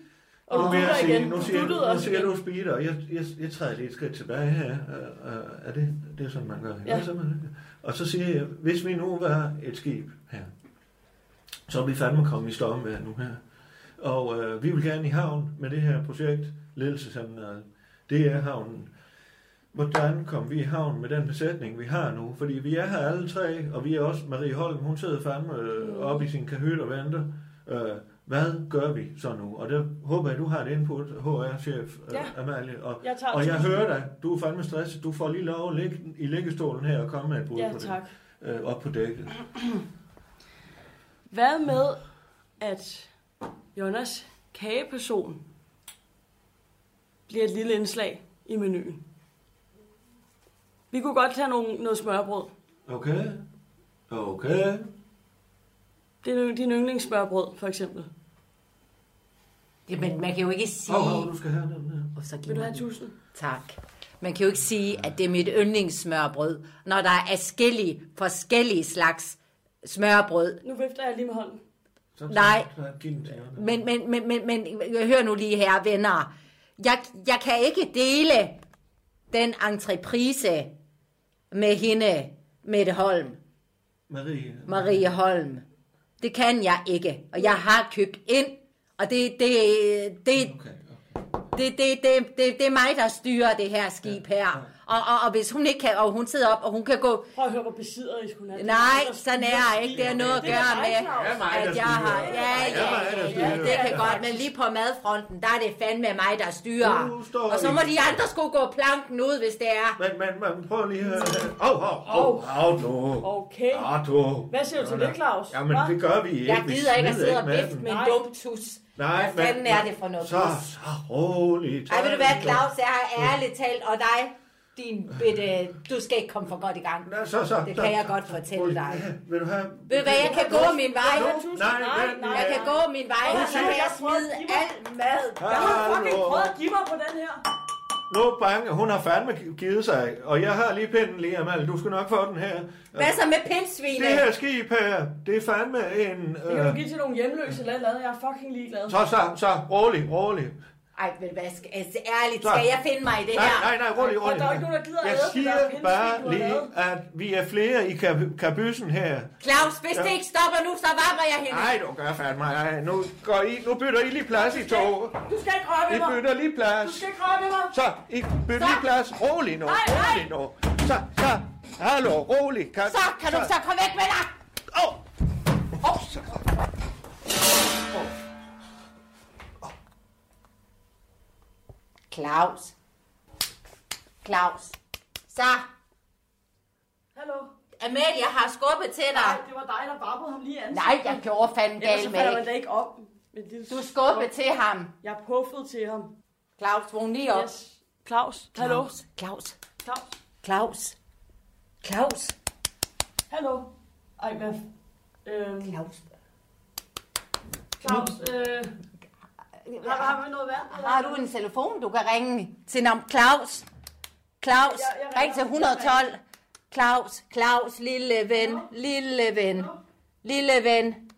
Speaker 1: Og
Speaker 7: Og du
Speaker 1: nu, vil jeg
Speaker 7: dutter
Speaker 1: sige,
Speaker 7: igen.
Speaker 1: nu
Speaker 7: Du
Speaker 1: siger,
Speaker 7: duttede
Speaker 1: nu
Speaker 7: også
Speaker 1: siger
Speaker 7: igen.
Speaker 1: du speeder, og jeg, jeg, jeg træder lige et skridt tilbage her. Øh, øh, er det, det er sådan, man gør.
Speaker 7: Ja.
Speaker 1: Ja. Og så siger jeg, hvis vi nu var et skib her, så er vi fandme kommet i stormvejr nu her. Og øh, vi vil gerne i havn med det her projekt, ledelsesseminaret. Det er havnen. Hvordan kom vi i havn med den besætning, vi har nu? Fordi vi er her alle tre, og vi er også Marie Holm, hun sidder fandme øh, oppe i sin kahyt og venter. Øh, hvad gør vi så nu? Og der håber jeg, du har et input, HR-chef øh,
Speaker 7: Ja.
Speaker 1: ja. Amalie. Og,
Speaker 7: Jeg tager
Speaker 1: og jeg
Speaker 7: tusind.
Speaker 1: hører dig, du er fandme stresset. Du får lige lov at ligge i liggestolen her og komme med et bud
Speaker 7: Ja,
Speaker 1: på
Speaker 7: tak.
Speaker 1: det. Øh, op på dækket.
Speaker 7: Hvad med, at Jonas kageperson bliver et lille indslag i menuen? Vi kunne godt tage nogle, noget smørbrød.
Speaker 1: Okay? Okay.
Speaker 7: Det er din- din yndlingssmørbrød, for eksempel.
Speaker 5: Jamen, man kan jo ikke sige...
Speaker 1: Hov, hov, du skal have den her.
Speaker 5: Og så giver
Speaker 7: Vil du
Speaker 5: man
Speaker 7: have
Speaker 5: den.
Speaker 7: 1000?
Speaker 5: Tak. Man kan jo ikke sige, at det er mit yndlingssmørbrød, når der er forskellige, forskellige slags smørbrød.
Speaker 7: Nu vifter jeg lige med hånden.
Speaker 1: Så,
Speaker 5: Nej.
Speaker 1: Så, så giv den til Jonna.
Speaker 5: Men, men, men, men, men hør nu lige her, venner. Jeg, jeg kan ikke dele den entreprise med hende, Mette Holm.
Speaker 1: Marie.
Speaker 5: Marie Holm. Det kan jeg ikke, og jeg har købt ind, og det det det det det det, det, det er mig der styrer det her skib her. Og, og, og hvis hun ikke kan, og hun sidder op, og hun kan gå,
Speaker 7: Prøv at høre, hvor besidderisk hun er.
Speaker 5: nej, sådan er jeg ikke, det har noget at
Speaker 7: Det er
Speaker 5: gøre
Speaker 7: dig,
Speaker 5: med,
Speaker 7: Claus. Det er mig, der
Speaker 5: at jeg har,
Speaker 7: styrer.
Speaker 5: ja,
Speaker 7: Det er
Speaker 5: ja,
Speaker 7: mig, der
Speaker 5: ja,
Speaker 7: styrer.
Speaker 5: det kan godt, men lige på madfronten, der er det fandme mig, der styrer.
Speaker 1: Du står
Speaker 5: Og så må
Speaker 1: i-
Speaker 5: de andre skulle gå planken ud, hvis det er.
Speaker 1: Men, men, men prøv lige at... Au, au, au, au, nu.
Speaker 7: Okay.
Speaker 1: Ah, du.
Speaker 7: Hvad siger du til
Speaker 1: Nå,
Speaker 7: det, Claus?
Speaker 1: Jamen,
Speaker 7: Hva?
Speaker 1: det gør vi ikke.
Speaker 5: Jeg
Speaker 1: Vi
Speaker 5: gider ikke at
Speaker 1: smider
Speaker 5: sidde og
Speaker 1: med
Speaker 5: vifte
Speaker 1: den.
Speaker 5: med en dum tus.
Speaker 1: Nej,
Speaker 5: Hvad fanden er det for noget
Speaker 1: Så,
Speaker 5: pis?
Speaker 1: så roligt.
Speaker 5: Ej, vil du være, Claus, jeg har ærligt talt, og dig, din bitte, du skal ikke komme for godt i gang.
Speaker 1: Ja, så, så,
Speaker 5: det
Speaker 1: så,
Speaker 5: kan jeg
Speaker 1: så,
Speaker 5: godt fortælle dig.
Speaker 1: Vil du have...
Speaker 5: Ved du hvad, jeg kan gå min vej.
Speaker 1: Nej, nej, nej.
Speaker 5: Jeg kan gå min vej, og så kan jeg smide al mad.
Speaker 7: Jeg har fucking
Speaker 1: Hallo.
Speaker 7: prøvet at give mig på den her.
Speaker 1: Nu bange, hun har fandme givet sig, og jeg har lige pinden lige, Amal. Du skal nok få den her.
Speaker 5: Hvad så med
Speaker 1: Det
Speaker 5: pindsvine?
Speaker 1: her skib her, det er fandme en...
Speaker 7: Det kan du
Speaker 1: Øh,
Speaker 7: give til nogle hjemløse eller et eller andet. Jeg er fucking ligeglad.
Speaker 1: så, så, så, rolig, rolig.
Speaker 5: Ej, ved du hvad, skal- altså, ærligt,
Speaker 1: Så.
Speaker 5: skal jeg finde mig i det
Speaker 1: Nej,
Speaker 5: her?
Speaker 1: nej, nej, rolig,
Speaker 7: Og
Speaker 1: rolig.
Speaker 7: der er ikke nogen, der gider at
Speaker 1: Jeg
Speaker 7: æde, for der er
Speaker 1: siger
Speaker 7: pindsvin, du
Speaker 1: bare
Speaker 7: har
Speaker 1: lige,
Speaker 7: lavet.
Speaker 1: at vi er flere i kab- kabysen her.
Speaker 5: Claus, hvis det ikke stopper nu, så varmer jeg hende.
Speaker 1: Nej, du gør fandme. Ej, nu, går I, nu bytter I lige plads i tog.
Speaker 7: Du skal ikke røre
Speaker 1: I
Speaker 7: ved mig.
Speaker 1: bytter lige
Speaker 7: Du
Speaker 1: plads.
Speaker 7: skal ikke røre ved mig.
Speaker 1: Så, I bytter lige plads. Rolig nu,
Speaker 7: Ej, ej.
Speaker 1: rolig nu. Så, så. Hallo, rolig. Kan,
Speaker 5: Så kan du så komme væk med dig.
Speaker 1: Åh! Åh, så.
Speaker 5: Claus. Claus. Så,
Speaker 7: Hallo.
Speaker 5: Amalie har skubbet til dig.
Speaker 7: Nej, det var dig, der babbede ham lige i ansigtet.
Speaker 5: Nej, jeg gjorde fanden
Speaker 7: Ellers så
Speaker 5: galt med
Speaker 7: falder man
Speaker 5: ikke.
Speaker 7: da ikke op. Men det
Speaker 5: Du skubbede til ham.
Speaker 7: Jeg puffede til ham.
Speaker 5: Claus, vågn lige op.
Speaker 7: Yes. Claus. Hallo.
Speaker 5: Claus, Claus,
Speaker 7: Claus.
Speaker 5: Claus, Claus,
Speaker 7: Hallo. Ej, hvad? f- Øhm,
Speaker 5: Claus.
Speaker 7: Claus, øh, har, har vi noget vand? eller?
Speaker 5: Har du en telefon, du kan ringe til navn Claus? Claus,
Speaker 7: Jeg- jeg ringer.
Speaker 5: ring til 112. Claus, Claus, lille ven, lille ven, lille ven.